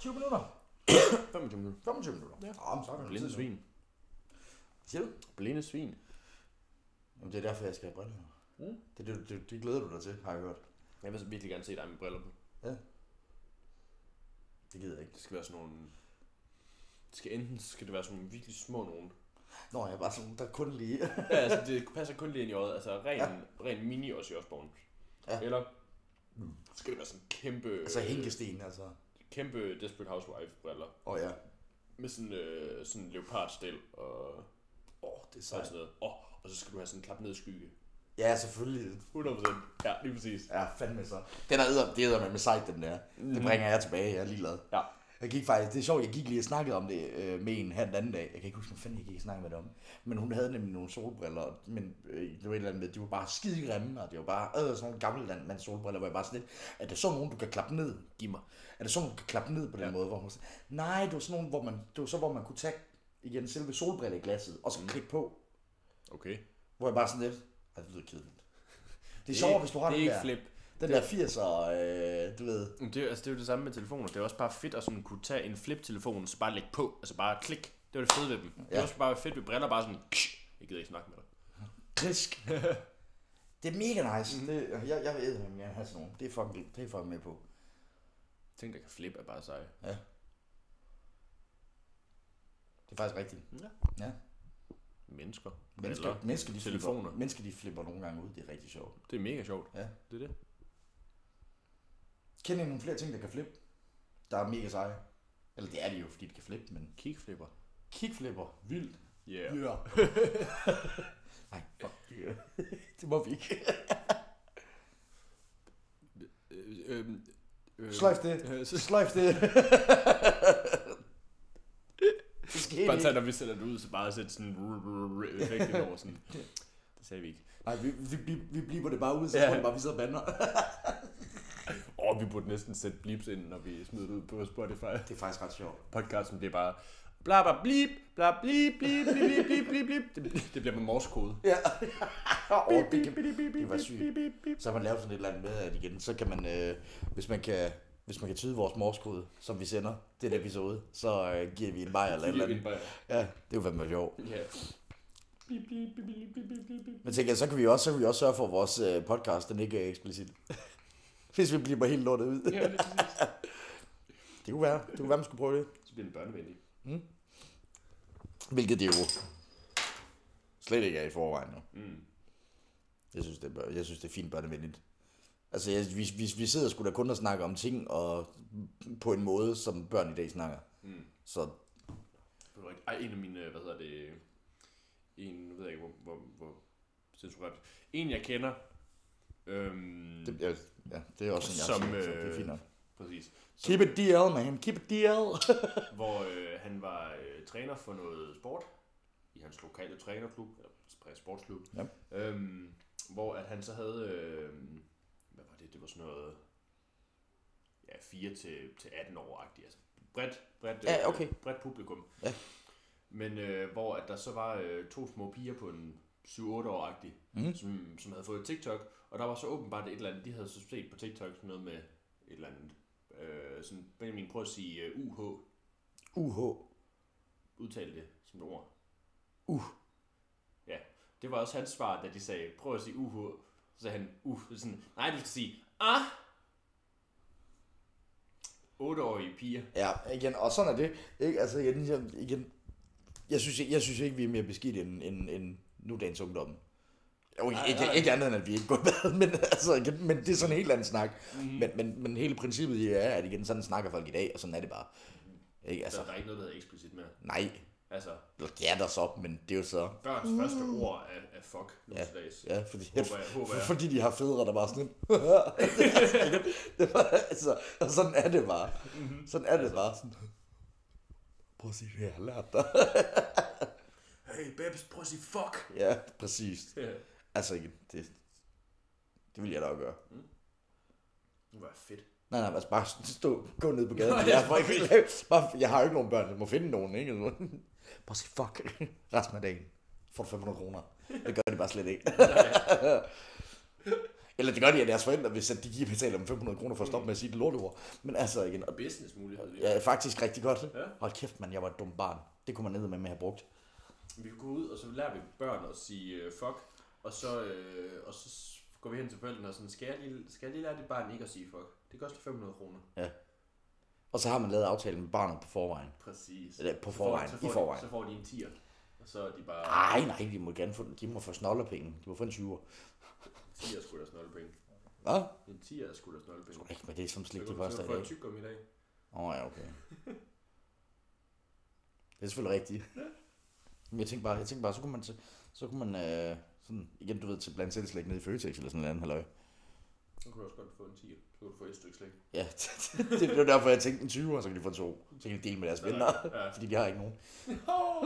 Speaker 1: 20 minutter.
Speaker 3: 25 minutter.
Speaker 1: 25 minutter. Ja. Oh, men så er det
Speaker 3: Blinde svin.
Speaker 1: Siger du?
Speaker 3: Blinde svin.
Speaker 1: Jamen, det er derfor, jeg skal have briller. Mm.
Speaker 3: Mm.
Speaker 1: Det, det, det, det, glæder du dig til, har jeg hørt.
Speaker 3: Jeg vil så virkelig gerne se dig med briller på.
Speaker 1: Det gider jeg ikke.
Speaker 3: Det skal være sådan nogle... Det skal enten skal det være sådan nogle virkelig små [laughs] nogen.
Speaker 1: Nå, jeg er bare sådan, der kun lige...
Speaker 3: Ja, altså det passer kun lige ind i øjet. Altså ren, ja. ren mini også i Osborne.
Speaker 1: Ja. Mm.
Speaker 3: Ja. Eller så skal det være sådan kæmpe,
Speaker 1: [laughs] altså hænkesten, altså.
Speaker 3: kæmpe Desperate Housewife briller.
Speaker 1: Åh oh, ja.
Speaker 3: Med sådan, øh, sådan leopardstil og,
Speaker 1: Åh, oh, det er
Speaker 3: og
Speaker 1: sejt.
Speaker 3: sådan noget. Oh, og så skal du have sådan en klap ned skygge.
Speaker 1: Ja, selvfølgelig.
Speaker 3: 100%. Ja, lige præcis.
Speaker 1: Ja, fandme så. Den er edder, det er med sejt, den der. Mm. Det bringer jeg tilbage, jeg er ligeglad.
Speaker 3: Ja.
Speaker 1: Jeg gik faktisk, det er sjovt, jeg gik lige og snakkede om det øh, med en her den anden dag. Jeg kan ikke huske, hvad fanden jeg gik og snakkede med det om. Men hun havde nemlig nogle solbriller, men øh, det var et eller andet med, de var bare skide grimme, og det var bare øh, sådan nogle gamle landmands solbriller, hvor jeg bare sådan lidt, er det sådan nogen, du kan klappe ned? Giv mig. Er det sådan, du kan klappe ned på den ja. måde? Hvor hun sagde, nej, det var sådan nogle, hvor man, det var så, hvor man kunne tage igen selve solbrilleglasset, og så mm. klikke på.
Speaker 3: Okay.
Speaker 1: Hvor jeg bare sådan lidt, ej, det lyder kedeligt. Det er sjovt, hvis du har
Speaker 3: det
Speaker 1: den
Speaker 3: er
Speaker 1: der,
Speaker 3: ikke
Speaker 1: den
Speaker 3: flip.
Speaker 1: der 80'er, øh, du ved,
Speaker 3: Men Det, er jo- altså, det er jo det samme med telefoner. Det er også bare fedt at sådan kunne tage en flip-telefon, så bare lægge på. Altså bare klik. Det var det fede ved dem. Ja. Det
Speaker 1: Ja.
Speaker 3: er også bare fedt ved briller, bare sådan... "Ksh, Jeg gider ikke snakke med dig.
Speaker 1: [laughs] Krisk. det er mega nice. Mm. Det, jeg, jeg ved, at jeg gerne have sådan nogle. Det er fucking, det er fucking med på.
Speaker 3: Ting, der kan flippe, er bare seje.
Speaker 1: Ja. Det er faktisk rigtigt.
Speaker 3: Ja.
Speaker 1: Ja.
Speaker 3: Mennesker.
Speaker 1: Mennesker,
Speaker 3: Briller.
Speaker 1: mennesker, de
Speaker 3: telefoner.
Speaker 1: Flipper, mennesker, de flipper nogle gange ud. Det er rigtig sjovt.
Speaker 3: Det er mega sjovt.
Speaker 1: Ja.
Speaker 3: Det er det.
Speaker 1: Kender I nogle flere ting, der kan flippe? Der er mega seje. Eller det er de jo, fordi de kan flippe, men...
Speaker 3: Kickflipper.
Speaker 1: Kickflipper. Vildt.
Speaker 3: Yeah.
Speaker 1: Ja.
Speaker 3: [laughs]
Speaker 1: Yeah. Nej, fuck. Yeah. [laughs] det må vi ikke.
Speaker 3: Øh, øh, øh,
Speaker 1: Sløjf det.
Speaker 3: Øh, så
Speaker 1: Sløjf
Speaker 3: [laughs]
Speaker 1: det. det skete
Speaker 3: øh, bare
Speaker 1: ikke.
Speaker 3: tag, når vi sender det ud, så bare sæt sådan en effekt
Speaker 1: [laughs]
Speaker 3: over sådan. Det sagde vi ikke.
Speaker 1: Nej, vi, vi, vi, vi bliver det bare ud, så
Speaker 3: Ja.
Speaker 1: tror jeg bare, vi sidder og bander.
Speaker 3: Åh, vi burde næsten sætte blips ind, når vi smider det ud på Spotify.
Speaker 1: [laughs] Det er faktisk ret sjovt.
Speaker 3: Podcasten bliver bare bla bla blip, bla blip, blip, blip, blip, blip, blip, blip. Det, det bliver med morskode.
Speaker 1: Ja.
Speaker 3: Bip,
Speaker 1: oh, det,
Speaker 3: bip,
Speaker 1: kan,
Speaker 3: bip, bip,
Speaker 1: det var
Speaker 3: bip,
Speaker 1: sygt.
Speaker 3: bip, bip, bip.
Speaker 1: så har man lavet sådan et eller andet med, at igen, så kan man, øh, hvis man kan, hvis man kan tyde vores morskode, som vi sender, det er det, vi så ud, så øh, giver vi en bajer eller et eller andet. Ja, det er jo fandme sjovt.
Speaker 3: Ja. Blip, blip, blip, blip, blip, blip, blip, blip.
Speaker 1: Men tænker jeg, så kan vi også, så kan vi også sørge for, at vores øh, podcast, den ikke er [laughs] eksplicit. Hvis vi bliver bare helt lortet ud.
Speaker 3: Ja, lige præcis.
Speaker 1: Det kunne være, det kunne være, man skulle prøve det.
Speaker 3: Så bliver det børnevenligt.
Speaker 1: Hvilket det jo slet ikke er i forvejen nu.
Speaker 3: Mm.
Speaker 1: Jeg synes, det er, bør- jeg synes, det er fint børnevenligt. Altså, jeg, vi, vi, vi sidder sgu da kun og snakker om ting, og på en måde, som børn i dag snakker.
Speaker 3: Mm.
Speaker 1: Så
Speaker 3: Det var rigtigt. Ej, en af mine, øh, hvad hedder det, en, nu ved jeg ikke, hvor, hvor, hvor censureret. En, jeg kender, øhm,
Speaker 1: det, ja, ja, det er også sådan, jeg
Speaker 3: Som,
Speaker 1: har set, så det er
Speaker 3: øh,
Speaker 1: fint nok.
Speaker 3: præcis,
Speaker 1: Keep it DL, man. Keep it [laughs] DL.
Speaker 3: [laughs] hvor øh, han var øh, træner for noget sport, i hans lokale trænerklub, eller sportsklub,
Speaker 1: Ja.
Speaker 3: øhm, hvor at han så havde, øh, hvad var det, det var sådan noget, ja, 4 til, til 18 år agtigt altså bredt, bredt,
Speaker 1: Ja,
Speaker 3: øh,
Speaker 1: okay.
Speaker 3: bredt publikum.
Speaker 1: Ja.
Speaker 3: Men øh, hvor at der så var øh, to små piger på en 7-8 år agtig
Speaker 1: Mm.
Speaker 3: mm. som, som havde fået TikTok, og der var så åbenbart et eller andet, de havde så set på TikTok sådan noget med et eller andet, øh, sådan, Benjamin, prøv at sige øh, UH,
Speaker 1: UH.
Speaker 3: udtale det som et ord.
Speaker 1: Uh.
Speaker 3: Ja, det var også hans svar, da de sagde, prøv at sige UH, så sagde han, uh, så sådan, nej, du skal sige, ah! Otteårige piger.
Speaker 1: Ja, igen, og sådan er det. Ikke? Altså, igen, jeg- igen, jeg, synes, ikke- jeg synes ikke, vi er mere beskidt end, end, end nu dagens ungdom. Jo,
Speaker 3: Nej,
Speaker 1: ikke,
Speaker 3: nej.
Speaker 1: ikke andet end, at vi ikke går med, [laughs] men, altså, igen, men det er sådan en helt anden snak.
Speaker 3: Mhm.
Speaker 1: Mm. Men, men, men hele princippet i det er, at igen, sådan snakker folk i dag, og sådan er det bare. Ikke?
Speaker 3: Altså,
Speaker 1: Altså,
Speaker 3: der er ikke noget, der hedder eksplicit mere.
Speaker 1: nej,
Speaker 3: Altså,
Speaker 1: Eller det er der så, men det er jo så.
Speaker 3: børns mm. første ord er, er fuck nu
Speaker 1: Ja,
Speaker 3: til dags.
Speaker 1: ja, fordi,
Speaker 3: Håber jeg- håber jeg.
Speaker 1: [laughs] fordi de har fædre, der bare sådan,
Speaker 3: [laughs]
Speaker 1: det var, altså, og sådan er det bare.
Speaker 3: Mhm.
Speaker 1: Sådan er det bare. Sådan. Prøv at sige, det jeg har lært dig.
Speaker 3: Hey, babes, prøv at sige [laughs] fuck!
Speaker 1: Ja, præcis. Altså, igen, det, det vil jeg da også gøre.
Speaker 3: Det var fedt.
Speaker 1: Nej, nej, altså bare stå, gå ned på gaden.
Speaker 3: Nå,
Speaker 1: jeg,
Speaker 3: ja,
Speaker 1: jeg,
Speaker 3: okay.
Speaker 1: jeg, bare, jeg har jo ikke nogen børn, jeg må finde nogen, ikke? Eller sådan. Bare sige, fuck, resten af dagen får du 500 kroner. Det gør de bare slet
Speaker 3: [laughs]
Speaker 1: ikke. Eller det gør de af deres forældre, hvis at de giver betaler dem 500 kroner for at stoppe med at sige det lorteord. Men altså igen, og
Speaker 3: Business mulighed.
Speaker 1: ja, faktisk rigtig godt.
Speaker 3: Ja.
Speaker 1: Hold kæft, man, jeg var et dumt barn. Det kunne man ned med, med at have brugt.
Speaker 3: Vi går ud, og så lærer vi børn at sige øh, fuck, og så, øh, og så s- går vi hen til forældrene og sådan, skal jeg, lige, skal jeg lige lære det barn ikke at sige fuck? Det koster 500 kroner.
Speaker 1: Og så har man lavet aftalen med barnet på forvejen.
Speaker 3: Præcis.
Speaker 1: Eller på forvejen,
Speaker 3: så får,
Speaker 1: i
Speaker 3: de-
Speaker 1: forvejen.
Speaker 3: Så får de en tier, og så er de bare
Speaker 1: Ej, nej, de må gerne få, de må få snolderpenge. De må få en 20'er.
Speaker 3: tier skulle deres nøglepenge.
Speaker 1: Hvad?
Speaker 3: En tier er skulle deres nøglepenge.
Speaker 1: Ikke, men det er som
Speaker 3: Så
Speaker 1: slik,
Speaker 3: kan
Speaker 1: det
Speaker 3: du
Speaker 1: koster
Speaker 3: så
Speaker 1: i
Speaker 3: få
Speaker 1: dag.
Speaker 3: et tyggegum i dag.
Speaker 1: Åh, oh, ja, okay. Det er selvfølgelig rigtigt. Men jeg tænkte bare, jeg tænkte bare så kunne man, så, så kunne man øh, sådan, igen, du ved, til blandt selv slik nede i Føtex eller sådan noget andet, halløj.
Speaker 3: Så kan du også godt få en tier. Så kan du få et stykke slik.
Speaker 1: Ja, [laughs] det blev derfor, jeg tænkte en 20, og så kan de få to. Så kan de dele med deres venner,
Speaker 3: Ja.
Speaker 1: [laughs] fordi de har ikke nogen.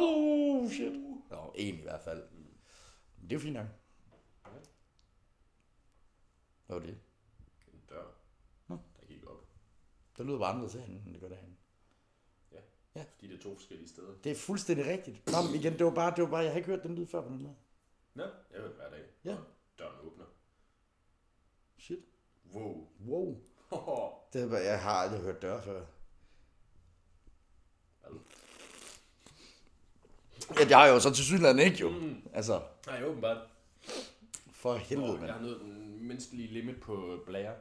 Speaker 3: Oh, shit.
Speaker 1: Nå, en i hvert fald. Men det er jo fint nok. Hvad var det?
Speaker 3: En dør,
Speaker 1: Nå.
Speaker 3: der gik op.
Speaker 1: Det lyder bare anderledes herinde, end det gør derhen.
Speaker 3: Fordi det er to forskellige steder.
Speaker 1: Det er fuldstændig rigtigt. Nå, men igen, det var bare, det var bare, jeg har ikke hørt den lyd før på den måde.
Speaker 3: Nå, jeg hører det hver dag.
Speaker 1: Ja.
Speaker 3: Og Døren åbner.
Speaker 1: Shit.
Speaker 3: Wow. [laughs]
Speaker 1: Wow. Det er bare, jeg har aldrig hørt dør før. Ja, det har jeg jo så til synligheden ikke jo.
Speaker 3: Mm.
Speaker 1: Altså,
Speaker 3: Nej, åbenbart.
Speaker 1: for helvede,
Speaker 3: Helvede,
Speaker 1: mand.
Speaker 3: jeg har nået den menneskelige limit på blære.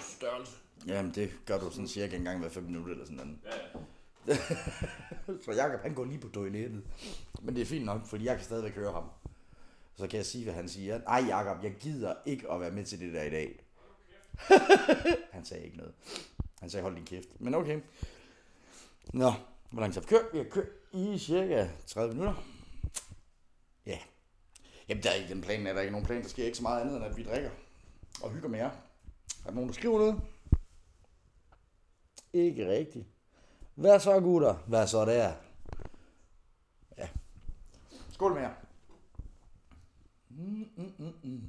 Speaker 3: Størrelse.
Speaker 1: Jamen, det gør du sådan cirka en gang hver 5 minutter eller sådan noget.
Speaker 3: Ja, ja.
Speaker 1: [laughs] Så Jacob, han går lige på toilettet. Men det er fint nok, fordi jeg kan stadigvæk høre ham. Så kan jeg sige, hvad han siger. Nej, Jacob, jeg gider ikke at være med til det der i dag. [laughs] han sagde ikke noget. Han sagde, hold din kæft. Men okay. Nå, hvor langt har vi kørt? Vi har kørt i cirka 30 minutter. Ja. Jamen, der er ikke den plan, er der ikke nogen plan. Der sker ikke så meget andet, end at vi drikker og hygger med jer. Er der nogen, der skriver noget? Ikke rigtigt. Hvad så, gutter? Hvad så der? Ja. Skål med jer. Mm, mm, mm, mm.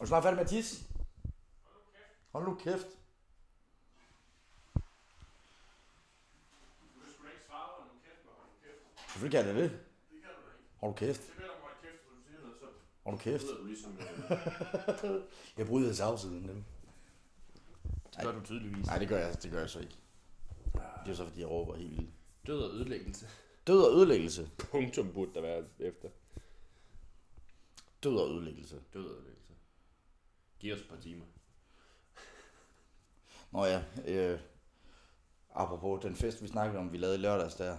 Speaker 1: Er du snart færdig med at tisse? Hold nu kæft. Selvfølgelig kan jeg da det. Hold nu kæft. Hold nu kæft. Jeg bryder sagsiden dem.
Speaker 3: Det gør du tydeligvis.
Speaker 1: Nej, det gør jeg, det gør jeg så ikke. Det er jo så, fordi jeg råber helt vildt.
Speaker 3: Død og ødelæggelse.
Speaker 1: Død og ødelæggelse.
Speaker 3: Punktum burde der være efter.
Speaker 1: Død og ødelæggelse.
Speaker 3: Død og ødelæggelse. Giv os et par timer.
Speaker 1: Nå ja, øh, apropos den fest, vi snakkede om, vi lavede i lørdags der.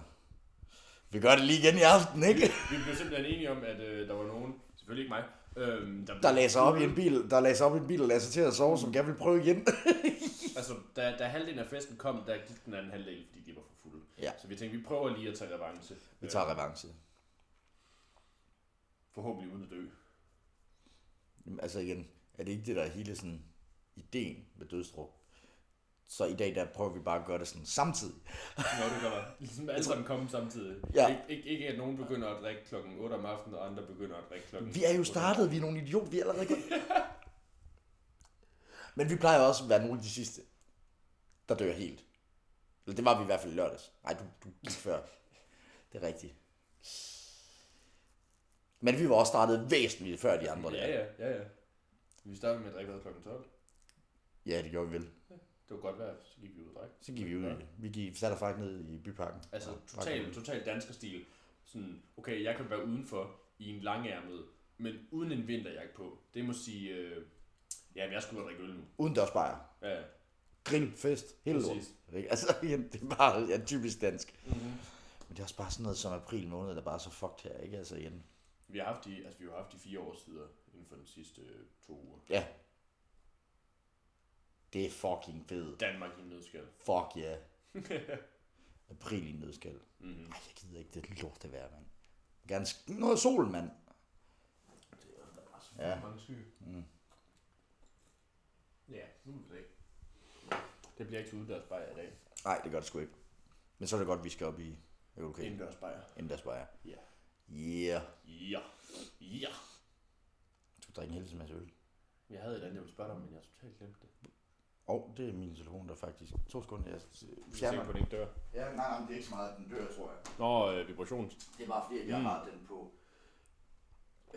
Speaker 1: Vi gør det lige igen i aften, ikke?
Speaker 3: Vi blev simpelthen enige om, at øh, der var nogen, selvfølgelig ikke mig, øh, der,
Speaker 1: Der lagde sig op i en bil, der lagde sig op i en bil og lagde sig til at sove, som gerne ville prøve igen.
Speaker 3: [laughs]
Speaker 1: [laughs]
Speaker 3: Altså, da, da halvdelen af festen kom, der gik den anden halvdel, fordi de var for fulde.
Speaker 1: Ja.
Speaker 3: Så vi tænkte, vi prøver lige at tage revanche.
Speaker 1: Vi tager
Speaker 3: Øh,
Speaker 1: revanche.
Speaker 3: Forhåbentlig uden at dø.
Speaker 1: Jamen, Altså igen, er det ikke det, der er hele sådan ideen med dødsdruk? Så i dag, der prøver vi bare at gøre det sådan samtidig.
Speaker 3: Nå, det gør man. Ligesom alle sammen komme samtidig.
Speaker 1: Ja.
Speaker 3: Ik- ikke, ikke, at nogen begynder at drikke klokken 8 om aftenen, og andre begynder at drikke klokken
Speaker 1: Vi er jo
Speaker 3: otte.
Speaker 1: startet, vi er nogle idioter, vi er allerede gået. Men vi plejer også at være nogle af de sidste, der dør helt. Eller det var vi i hvert fald i lørdags. Nej, du, du gik før. Det er rigtigt. Men vi var også startet væsentligt før de andre.
Speaker 3: Ja,
Speaker 1: Der.
Speaker 3: ja, ja, ja. Vi startede med at drikke hvad, klokken 12.
Speaker 1: Ja, det gjorde vi vel.
Speaker 3: Det var godt vejr, så gik vi ud og drak.
Speaker 1: Så gik vi ud. i det. Vi gik, satte os faktisk ned i byparken.
Speaker 3: Altså,
Speaker 1: Og drak
Speaker 3: total,
Speaker 1: øl.
Speaker 3: total dansker stil. Sådan, okay, jeg kan være udenfor i en langærmet, men uden en vinterjakke på. Det må sige, øh, ja, jeg skulle ud og drikke øl nu.
Speaker 1: Udendørsbajer.
Speaker 3: Ja, ja.
Speaker 1: Grill, fest, hele lort.
Speaker 3: præcis.
Speaker 1: Ikke? Altså, igen, det er bare ja, typisk dansk.
Speaker 3: Mm-hmm.
Speaker 1: Men det er også bare sådan noget som april måned, der bare er så fucked her, ikke? Altså, igen.
Speaker 3: Vi har haft de, altså, vi har haft de fire årstider inden for de sidste øh, to uger.
Speaker 1: Ja. Det er fucking fedt.
Speaker 3: Danmark i en nødskal.
Speaker 1: Fuck ja. Yeah.
Speaker 3: [laughs]
Speaker 1: April i en nødskal.
Speaker 3: Mm-hmm.
Speaker 1: Ej, jeg gider ikke det lort det vejr, mand. Jeg vil Gerne sk- noget sol, mand. Ja.
Speaker 3: Mange syge.
Speaker 1: Mm.
Speaker 3: Ja, nu er det ikke. Det bliver ikke til udendørsbajer i dag.
Speaker 1: Nej, det gør det sgu ikke. Men så er det godt, at vi skal op i okay.
Speaker 3: Indendørsbajer.
Speaker 1: Indendørsbajer.
Speaker 3: Ja.
Speaker 1: Yeah.
Speaker 3: Ja. Ja.
Speaker 1: Du drikker en hel masse øl.
Speaker 3: Jeg havde et andet, jeg ville spørge dig om, men jeg har totalt glemt det.
Speaker 1: Og oh, det er min telefon, der faktisk... To sekunder, jeg
Speaker 3: Jeg er
Speaker 1: fjerner
Speaker 3: sikker på, at den ikke dør.
Speaker 1: Ja, nej, nej, men det er ikke så meget, at den dør, tror jeg.
Speaker 3: Nå, øh, vibrations.
Speaker 1: Det er bare fordi, at jeg
Speaker 3: Mm.
Speaker 1: har den på...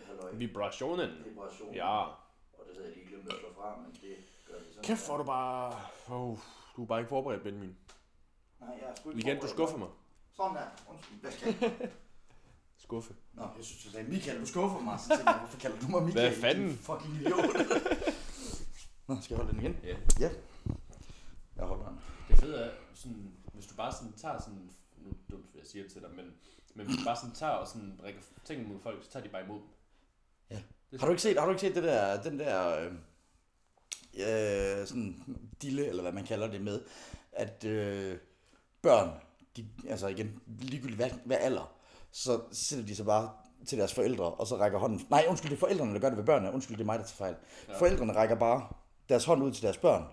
Speaker 1: Halløj.
Speaker 3: Vibrationen.
Speaker 1: Vibration.
Speaker 3: Ja.
Speaker 1: Og det havde jeg lige glemt at slå fra, men det gør det sådan.
Speaker 3: Kæft, hvor er du bare... Oh, du er bare ikke forberedt, Benjamin.
Speaker 1: Nej, jeg er sgu ikke
Speaker 3: Michael, du
Speaker 1: forberedt.
Speaker 3: skuffer mig.
Speaker 1: Sådan der. Undskyld. Hvad skal jeg?
Speaker 3: Skuffe.
Speaker 1: Nå, jeg synes, du sagde, Michael, du skuffer mig. Så tænkte jeg, hvorfor kalder du mig Michael?
Speaker 3: Hvad fanden?
Speaker 1: din Fucking idiot. [laughs] Nå, skal jeg holde den igen?
Speaker 3: Ja.
Speaker 1: Jeg holder den.
Speaker 3: Det fede er, sådan, hvis du bare sådan tager sådan... Nu er det dumt, hvad jeg siger det til dig, men, men hvis du bare sådan tager og sådan rækker tingene mod folk, så tager de bare imod dem.
Speaker 1: Ja.
Speaker 3: Det
Speaker 1: Har du ikke set, har du ikke set det der, den der øh, øh, sådan dille, eller hvad man kalder det med, at øh, børn, de, altså igen, ligegyldigt hvad, hvad alder, så sidder de så bare til deres forældre, og så rækker hånden. Nej, undskyld, det er forældrene, der gør det ved børnene. Undskyld, det er mig, der tager fejl. Ja. Forældrene rækker bare deres hånd ud til deres børn,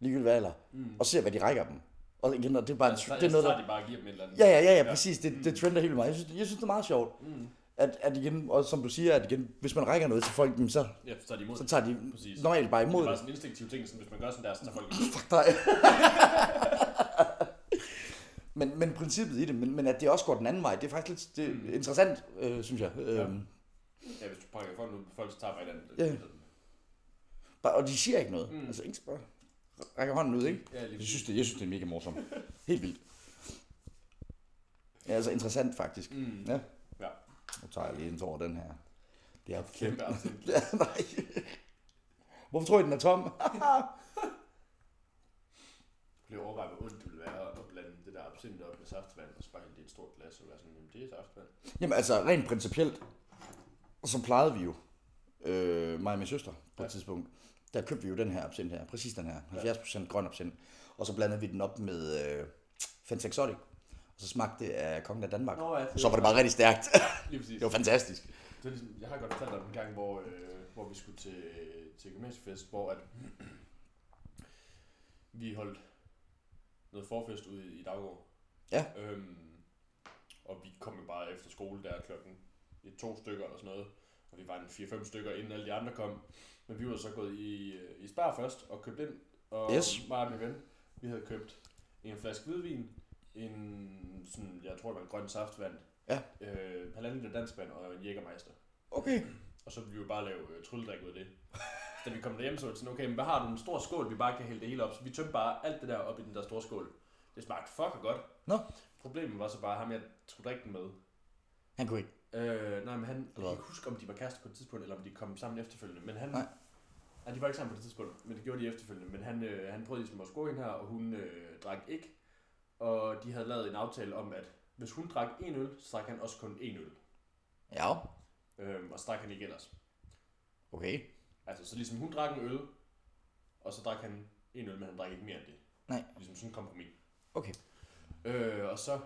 Speaker 1: ligegyldigt hvad alder, mm. Altså, og ser, hvad de rækker dem. Og igen, og det er bare,
Speaker 3: så,
Speaker 1: det er noget,
Speaker 3: så
Speaker 1: der,
Speaker 3: tager de bare og giver dem et eller andet.
Speaker 1: Ja, ja, ja, ja, præcis. Det, det trender helt vildt meget. Jeg synes, jeg synes, det er meget sjovt.
Speaker 3: Mm.
Speaker 1: At, at igen, og som du siger, at igen, hvis man rækker noget til folk, jamen så,
Speaker 3: Ja, så tager de imod
Speaker 1: så
Speaker 3: dem.
Speaker 1: tager de
Speaker 3: Præcis.
Speaker 1: normalt bare
Speaker 3: Det
Speaker 1: imod
Speaker 3: er bare
Speaker 1: det. Ah,
Speaker 3: sådan en instinktiv ting, sådan, hvis man gør sådan der, så tager folk imod.
Speaker 1: Fuck dig. men, men princippet i det, men, men at det også går den anden vej, det er faktisk lidt det
Speaker 3: Mm.
Speaker 1: er interessant, øh, synes jeg. Øhm,
Speaker 3: Ja, hvis du pakker folk nu, folk så tager bare et andet. Mm.
Speaker 1: Ja. bare, og de siger ikke noget. Mm. Altså, ikke bare rækker hånden ud, ikke?
Speaker 3: Ja, lige
Speaker 1: Jeg synes, det, jeg synes, det er mega
Speaker 3: [laughs]
Speaker 1: morsomt. Helt vildt. Ja, altså interessant faktisk.
Speaker 3: Mm.
Speaker 1: Ja.
Speaker 3: Ja.
Speaker 1: Nu tager jeg lige en tår over den her. Det er
Speaker 3: Mm. Kæmpe afsnit.
Speaker 1: Ja, [laughs] nej. Hvorfor tror I, den er tom?
Speaker 3: Jeg blev overvejet, hvor ondt det ville være at blande det der absint op med saftvand, og så bare hælde det i et stort glas, og være sådan, jamen det er saftvand.
Speaker 1: Jamen altså, rent principielt, så plejede vi jo, øh, mig og min søster på et tidspunkt, der købte vi jo den her absint her, præcis den her, 70% grøn absint, og så blandede vi den op med øh, Fanta Exotic, og så smagte det af kongen af Danmark.
Speaker 3: Nå, ja, det-
Speaker 1: så var det bare rigtig stærkt. [laughs]
Speaker 3: Lige præcis.
Speaker 1: det var fantastisk.
Speaker 3: Det er ligesom, jeg har godt fortalt dig om en gang, hvor, øh, hvor vi skulle til, til gymnasiefest, hvor at vi holdt noget forfest ude i Daggård.
Speaker 1: Ja.
Speaker 3: Øhm, og vi kom jo bare efter skole der klokken et, to stykker eller sådan noget. Og vi var en 4-5 stykker, inden alle de andre kom. Men vi var så gået i, øh, i Spar først og købt ind. Og
Speaker 1: Yes.
Speaker 3: mig og min ven, vi havde købt en flaske hvidvin, en, sådan, jeg tror det var en grøn saftvand,
Speaker 1: Ja.
Speaker 3: øh, halvanden liter dansk vand og en jægermeister.
Speaker 1: Okay.
Speaker 3: Og så ville vi jo bare lave øh, trylledrik ud af det. Så da vi kom derhjem, så var det sådan, okay, men hvad har du en stor skål, vi bare kan hælde det hele op? Så vi tømte bare alt det der op i den der store skål. Det smagte fucking godt.
Speaker 1: Nå.
Speaker 3: Problemet var så bare ham, jeg skulle drikke den med.
Speaker 1: Han kunne ikke.
Speaker 3: Øh, nej, men han, jeg
Speaker 1: Eller hvad?
Speaker 3: kan ikke huske, om de var kærester på et tidspunkt, eller om de kom sammen efterfølgende. Men han,
Speaker 1: Nej.
Speaker 3: nej. de var ikke sammen på det tidspunkt, men det gjorde de efterfølgende. Men han, øh, han prøvede ligesom at score hende her, og hun øh, drak ikke. Og de havde lavet en aftale om, at hvis hun drak en øl, så drak han også kun en øl.
Speaker 1: Ja,
Speaker 3: Øh, og så drak han ikke ellers.
Speaker 1: okay.
Speaker 3: Altså, så ligesom hun drak en øl, og så drak han en øl, men han drak ikke mere end det.
Speaker 1: Nej.
Speaker 3: Ligesom sådan en kompromis.
Speaker 1: Okay.
Speaker 3: Øh, og så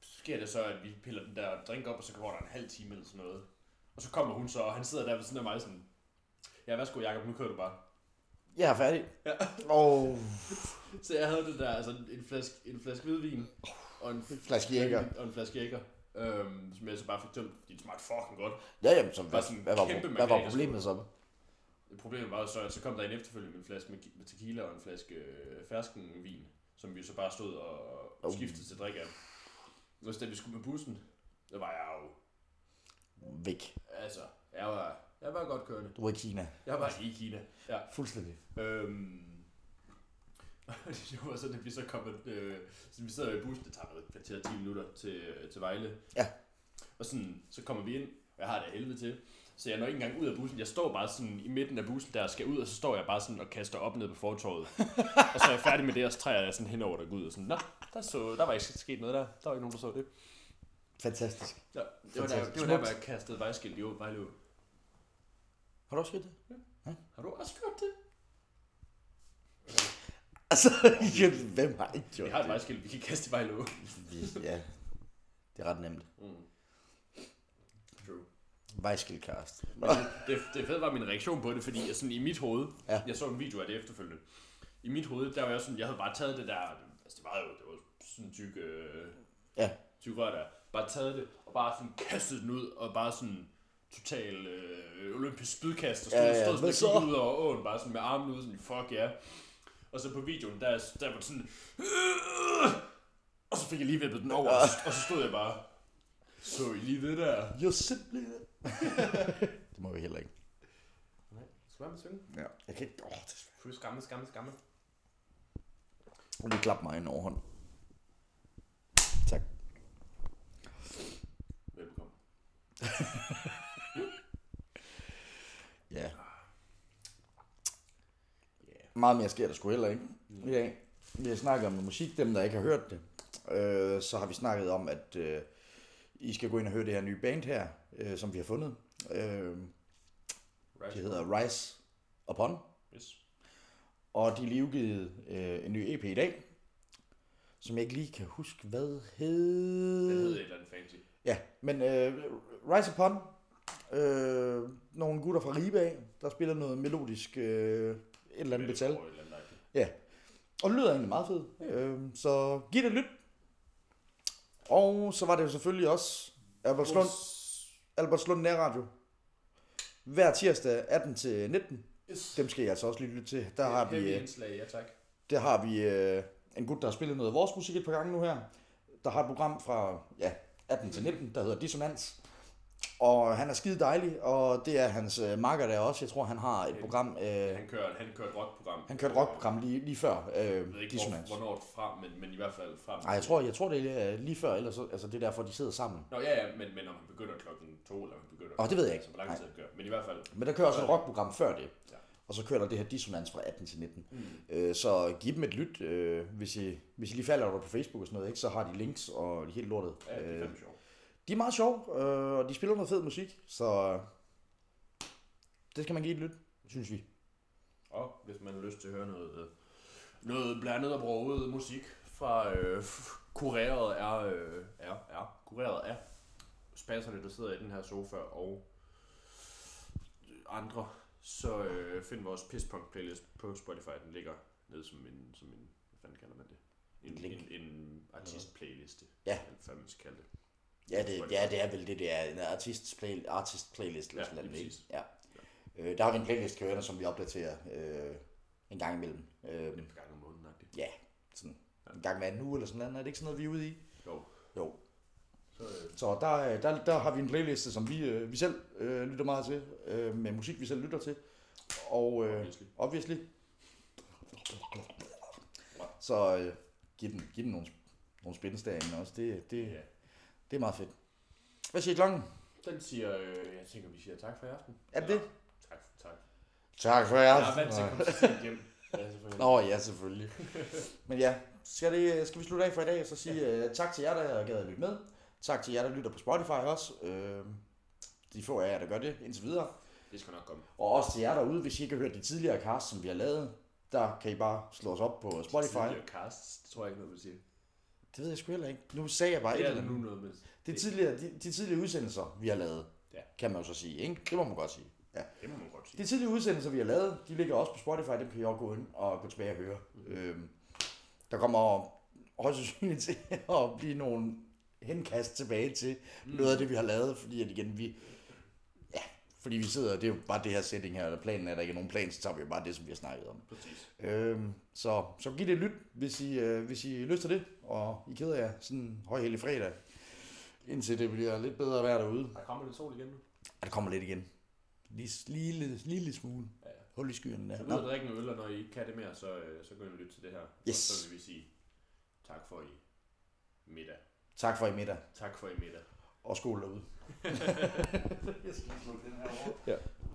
Speaker 3: sker det så, at vi piller den der drink op, og så går der en halv time eller sådan noget. Og så kommer hun så, og han sidder der ved siden af mig sådan, ja, værsgo Jacob, nu kører du bare.
Speaker 1: Jeg er færdig.
Speaker 3: Ja.
Speaker 1: [laughs] Og
Speaker 3: Så jeg havde det der, altså en flaske, en flaske hvidvin, og en
Speaker 1: flaske jæger.
Speaker 3: Og en flaske jækker. Øhm, som jeg så bare fik tømt, fordi det smagte fucking godt.
Speaker 1: Ja, jamen, så
Speaker 3: Bare sådan
Speaker 1: hvad,
Speaker 3: en
Speaker 1: hvad, var,
Speaker 3: Altså, kæmpe
Speaker 1: hvad var
Speaker 3: marinaderskål.
Speaker 1: problemet så?
Speaker 3: Problemet var jo så, at så kom der en efterfølgende med en flaske med med tequila og en flaske øh, ferskenvin, som vi så bare stod og
Speaker 1: Oh.
Speaker 3: oh. skiftede til drik af. Og så da vi skulle med bussen, der var jeg jo,
Speaker 1: Væk.
Speaker 3: altså, jeg var, jeg var godt kørende.
Speaker 1: Du var i Kina.
Speaker 3: Jeg var i Kina. Ja.
Speaker 1: Fuldstændig.
Speaker 3: Øhm, [laughs] og det var så, at vi så kom, at, øh, så vi sidder i bussen, det tager noget kvarter 10 minutter til, øh, til Vejle.
Speaker 1: Ja.
Speaker 3: Og sådan, så kommer vi ind, og jeg har det af helvede til. Så jeg når ikke engang ud af bussen. Jeg står bare sådan i midten af bussen, der skal ud, og så står jeg bare sådan og kaster op ned på [laughs] fortorvet. og så er jeg færdig med det, og så træder jeg sådan hen over der ud og sådan, nå, der, så, der var ikke sket noget der. Der var ikke nogen, der så det.
Speaker 1: Fantastisk.
Speaker 3: Ja, det var der, det var der, hvor jeg kastede vejskilt i Vejle. Å.
Speaker 1: Har du også gjort det?
Speaker 3: Har du også gjort det?
Speaker 1: Altså, [laughs] igen, hvem har ikke
Speaker 3: Vi
Speaker 1: gjort
Speaker 3: har et
Speaker 1: det?
Speaker 3: vejskilt, vi kan kaste i Vejle. Å.
Speaker 1: Vi- Ja, det er ret nemt.
Speaker 3: Mm. True.
Speaker 1: Vejskildkast.
Speaker 3: Men det, det fede var min reaktion på det, fordi jeg sådan i mit hoved,
Speaker 1: Ja.
Speaker 3: ja. jeg så en video af det efterfølgende, i mit hoved, der var jeg sådan, jeg havde bare taget det der, altså det var jo, det var sådan en tyk, øh,
Speaker 1: Ja.
Speaker 3: tyk rør der, bare taget det, og bare sådan kastet den ud, og bare sådan, total øh, olympisk spydkast, og stod,
Speaker 1: Ja, ja,
Speaker 3: ja, ja.
Speaker 1: men
Speaker 3: stod sådan og
Speaker 1: så-
Speaker 3: kiggede ud over åen, bare sådan med armen ude, sådan, fuck ja. Yeah. Og så på videoen, der, der var det sådan, øh, og så fik jeg lige vippet den over, og, så, og så stod jeg bare, så I lige det der?
Speaker 1: You're simply... [laughs] det må vi heller ikke.
Speaker 4: Nej. Skal du være med at synge?
Speaker 2: Ja.
Speaker 1: Jeg kan ikke... Åh, det er
Speaker 4: Skal du skamme, skamme, skamme?
Speaker 1: svært. Lige klap mig i en overhånd. Tak.
Speaker 3: Velbekomme.
Speaker 1: Ja. Meget mere sker der sgu heller ikke i dag. Vi har snakket om noget musik, dem der ikke har hørt det. Øh, så har vi snakket om, at øh, I skal gå ind og høre det her nye band her, øh, som vi har fundet. Øh,
Speaker 3: Right.
Speaker 1: det hedder Rise Upon,
Speaker 3: Yes.
Speaker 1: og de er lige udgivet øh, en ny EP i dag, som jeg ikke lige kan huske, hvad
Speaker 3: Den hed
Speaker 1: hed... E
Speaker 3: et eller andet fancy.
Speaker 1: Ja, men øh, Rise Upon, øh, nogle gutter fra Ribe af, der spiller noget melodisk øh, et eller andet metal.
Speaker 3: Et eller andet agtigt.
Speaker 1: Og det lyder egentlig meget fedt. Øh, så giv det et lyt. Og så var det jo selvfølgelig også Albertslund, Albertslund Nærradio. Hver tirsdag 18 til 19.
Speaker 3: Yes.
Speaker 1: Dem skal I altså også lige lytte til. Der har
Speaker 3: Heavy
Speaker 1: vi, øh,
Speaker 3: indslag, ja tak.
Speaker 1: der har vi øh, en gut, der har spillet noget af vores musik et par gange nu her. Der har et program fra ja, 18 til 19, der hedder Dissonans. Og han er skide dejlig, og det er hans øh, makker der også. Jeg tror, han har et program... Øh,
Speaker 3: Han kører, han kører et rockprogram.
Speaker 1: han kørte rockprogram lige, lige før
Speaker 3: Jeg ved
Speaker 1: øh,
Speaker 3: ikke, hvor,
Speaker 1: Dissonans.
Speaker 3: hvornår frem, men, men i hvert fald frem.
Speaker 1: Nej, jeg tror, jeg tror det er lige før, ellers, så- altså det er derfor, de sidder sammen.
Speaker 3: Nå, ja, ja, men, men om han begynder klokken to, eller om han begynder...
Speaker 1: Åh, det ved jeg ikke.
Speaker 3: Altså, hvor lang tid han kører. Men i hvert fald,
Speaker 1: Men der kører også et rockprogram før det.
Speaker 3: Ja.
Speaker 1: Og så kører der det her dissonans fra 18 til 19.
Speaker 3: Mm.
Speaker 1: Øh, så giv dem et lyt. Øh, hvis, I, hvis I lige falder over på Facebook og sådan noget, ikke, så har de links og helt lortet.
Speaker 3: ja, det er
Speaker 1: Øh,
Speaker 3: fandme sjovt.
Speaker 1: de er meget sjove, øh, og de spiller noget fed musik, så øh, det skal man give et lyt, synes vi.
Speaker 3: Og hvis man har lyst til at høre noget, øh, noget blandet og broget musik fra øh, [laughs] f- kureret af, øh, er, er, kureret af spasserne, der sidder i den her sofa og andre, så øh, find vores pisspunk playlist på Spotify. Den ligger ned som en, som en hvad fanden kalder man det? En,
Speaker 1: En link.
Speaker 3: en, en artist playliste.
Speaker 1: Ja.
Speaker 3: Eller hvad man skal kalde det.
Speaker 1: Ja, det, ja, det er vel det, det er en artist, play, artist playlist. Eller
Speaker 3: Ja,
Speaker 1: sådan noget,
Speaker 3: lige
Speaker 1: ikke? ja. Øh, der har vi en playlist kørende, som vi opdaterer øh, en gang imellem. Øh,
Speaker 3: Et par gange om måneden, agtigt.
Speaker 1: ja, sådan en gang hver anden uge eller sådan noget. Er det ikke sådan noget, vi er ude i?
Speaker 3: Jo.
Speaker 1: Jo.
Speaker 3: Så, øh,
Speaker 1: Så der, øh, der, der har vi en playliste, som vi, øh, vi selv øh, lytter meget til, øh, med musik, vi selv lytter til. Og øh,
Speaker 3: Obviously.
Speaker 1: obviously. Så øh, giv, den, giv den nogle, nogle spændestager også. Det, det,
Speaker 3: ja.
Speaker 1: det er meget fedt. Hvad siger klokken?
Speaker 3: Den siger, øh, jeg tænker, vi siger tak for i aften.
Speaker 1: Er det det?
Speaker 3: Eller- Tak, tak.
Speaker 1: Tak for
Speaker 3: Jeg er vant til at
Speaker 1: jer.
Speaker 3: komme så sent hjem. Ja, selvfølgelig.
Speaker 1: Nå ja, selvfølgelig. Men ja, skal, det, skal vi slutte af for i dag, og så sige øh, tak til jer, der gad at lytte med. Tak til jer, der lytter på Spotify også. Øh, de få af jer, der gør det indtil videre.
Speaker 3: Det skal nok komme.
Speaker 1: Og også til jer derude, hvis I ikke har hørt de tidligere cast, som vi har lavet, der kan I bare slå os op på Spotify.
Speaker 3: Tidligere cast, det tror jeg ikke, noget vil sige.
Speaker 1: Det ved jeg sgu heller ikke. Nu sagde jeg bare
Speaker 3: Det
Speaker 1: et
Speaker 3: er
Speaker 1: eller
Speaker 3: der nu
Speaker 1: andet.
Speaker 3: noget med.
Speaker 1: Det er tidligere, de, de tidligere udsendelser, vi har lavet,
Speaker 3: Ja.
Speaker 1: kan man jo så sige, ikke? Det må man godt sige. Ja.
Speaker 3: Det må man godt sige.
Speaker 1: De tidligere udsendelser, vi har lavet, de ligger også på Spotify. Dem kan I også gå ind og gå tilbage og høre. Øhm, der kommer højst sandsynligt til [laughs] at blive nogle henkast tilbage til noget af det, vi har lavet. Fordi at igen, vi... Ja, fordi vi sidder, det er jo bare det her setting her, eller planen er, at der ikke er nogen plan, så tager vi jo bare det, som vi har snakket om.
Speaker 3: Præcis.
Speaker 1: Øhm, så, så giv det et lyt, hvis I, øh, hvis I har lyst til det, og I keder jer sådan en højhelig fredag, indtil det bliver lidt bedre vejr derude.
Speaker 3: Der kommer lidt sol igen nu.
Speaker 1: Og det kommer lidt igen. Lige, lige, lille, lille smule.
Speaker 3: Ja.
Speaker 1: Hul i skyerne
Speaker 3: Så
Speaker 1: der.
Speaker 3: ud og
Speaker 1: Nå,
Speaker 3: drikke noget øl, og når I ikke kan det mere, så, øh, så gå ind og lytte til det her.
Speaker 1: Yes.
Speaker 3: Og så vil vi sige tak for i middag.
Speaker 1: tak for i middag,
Speaker 3: [laughs] Tak for i middag.
Speaker 1: og skål derude.
Speaker 2: Jeg skal lige slukke den her over.
Speaker 1: Ja.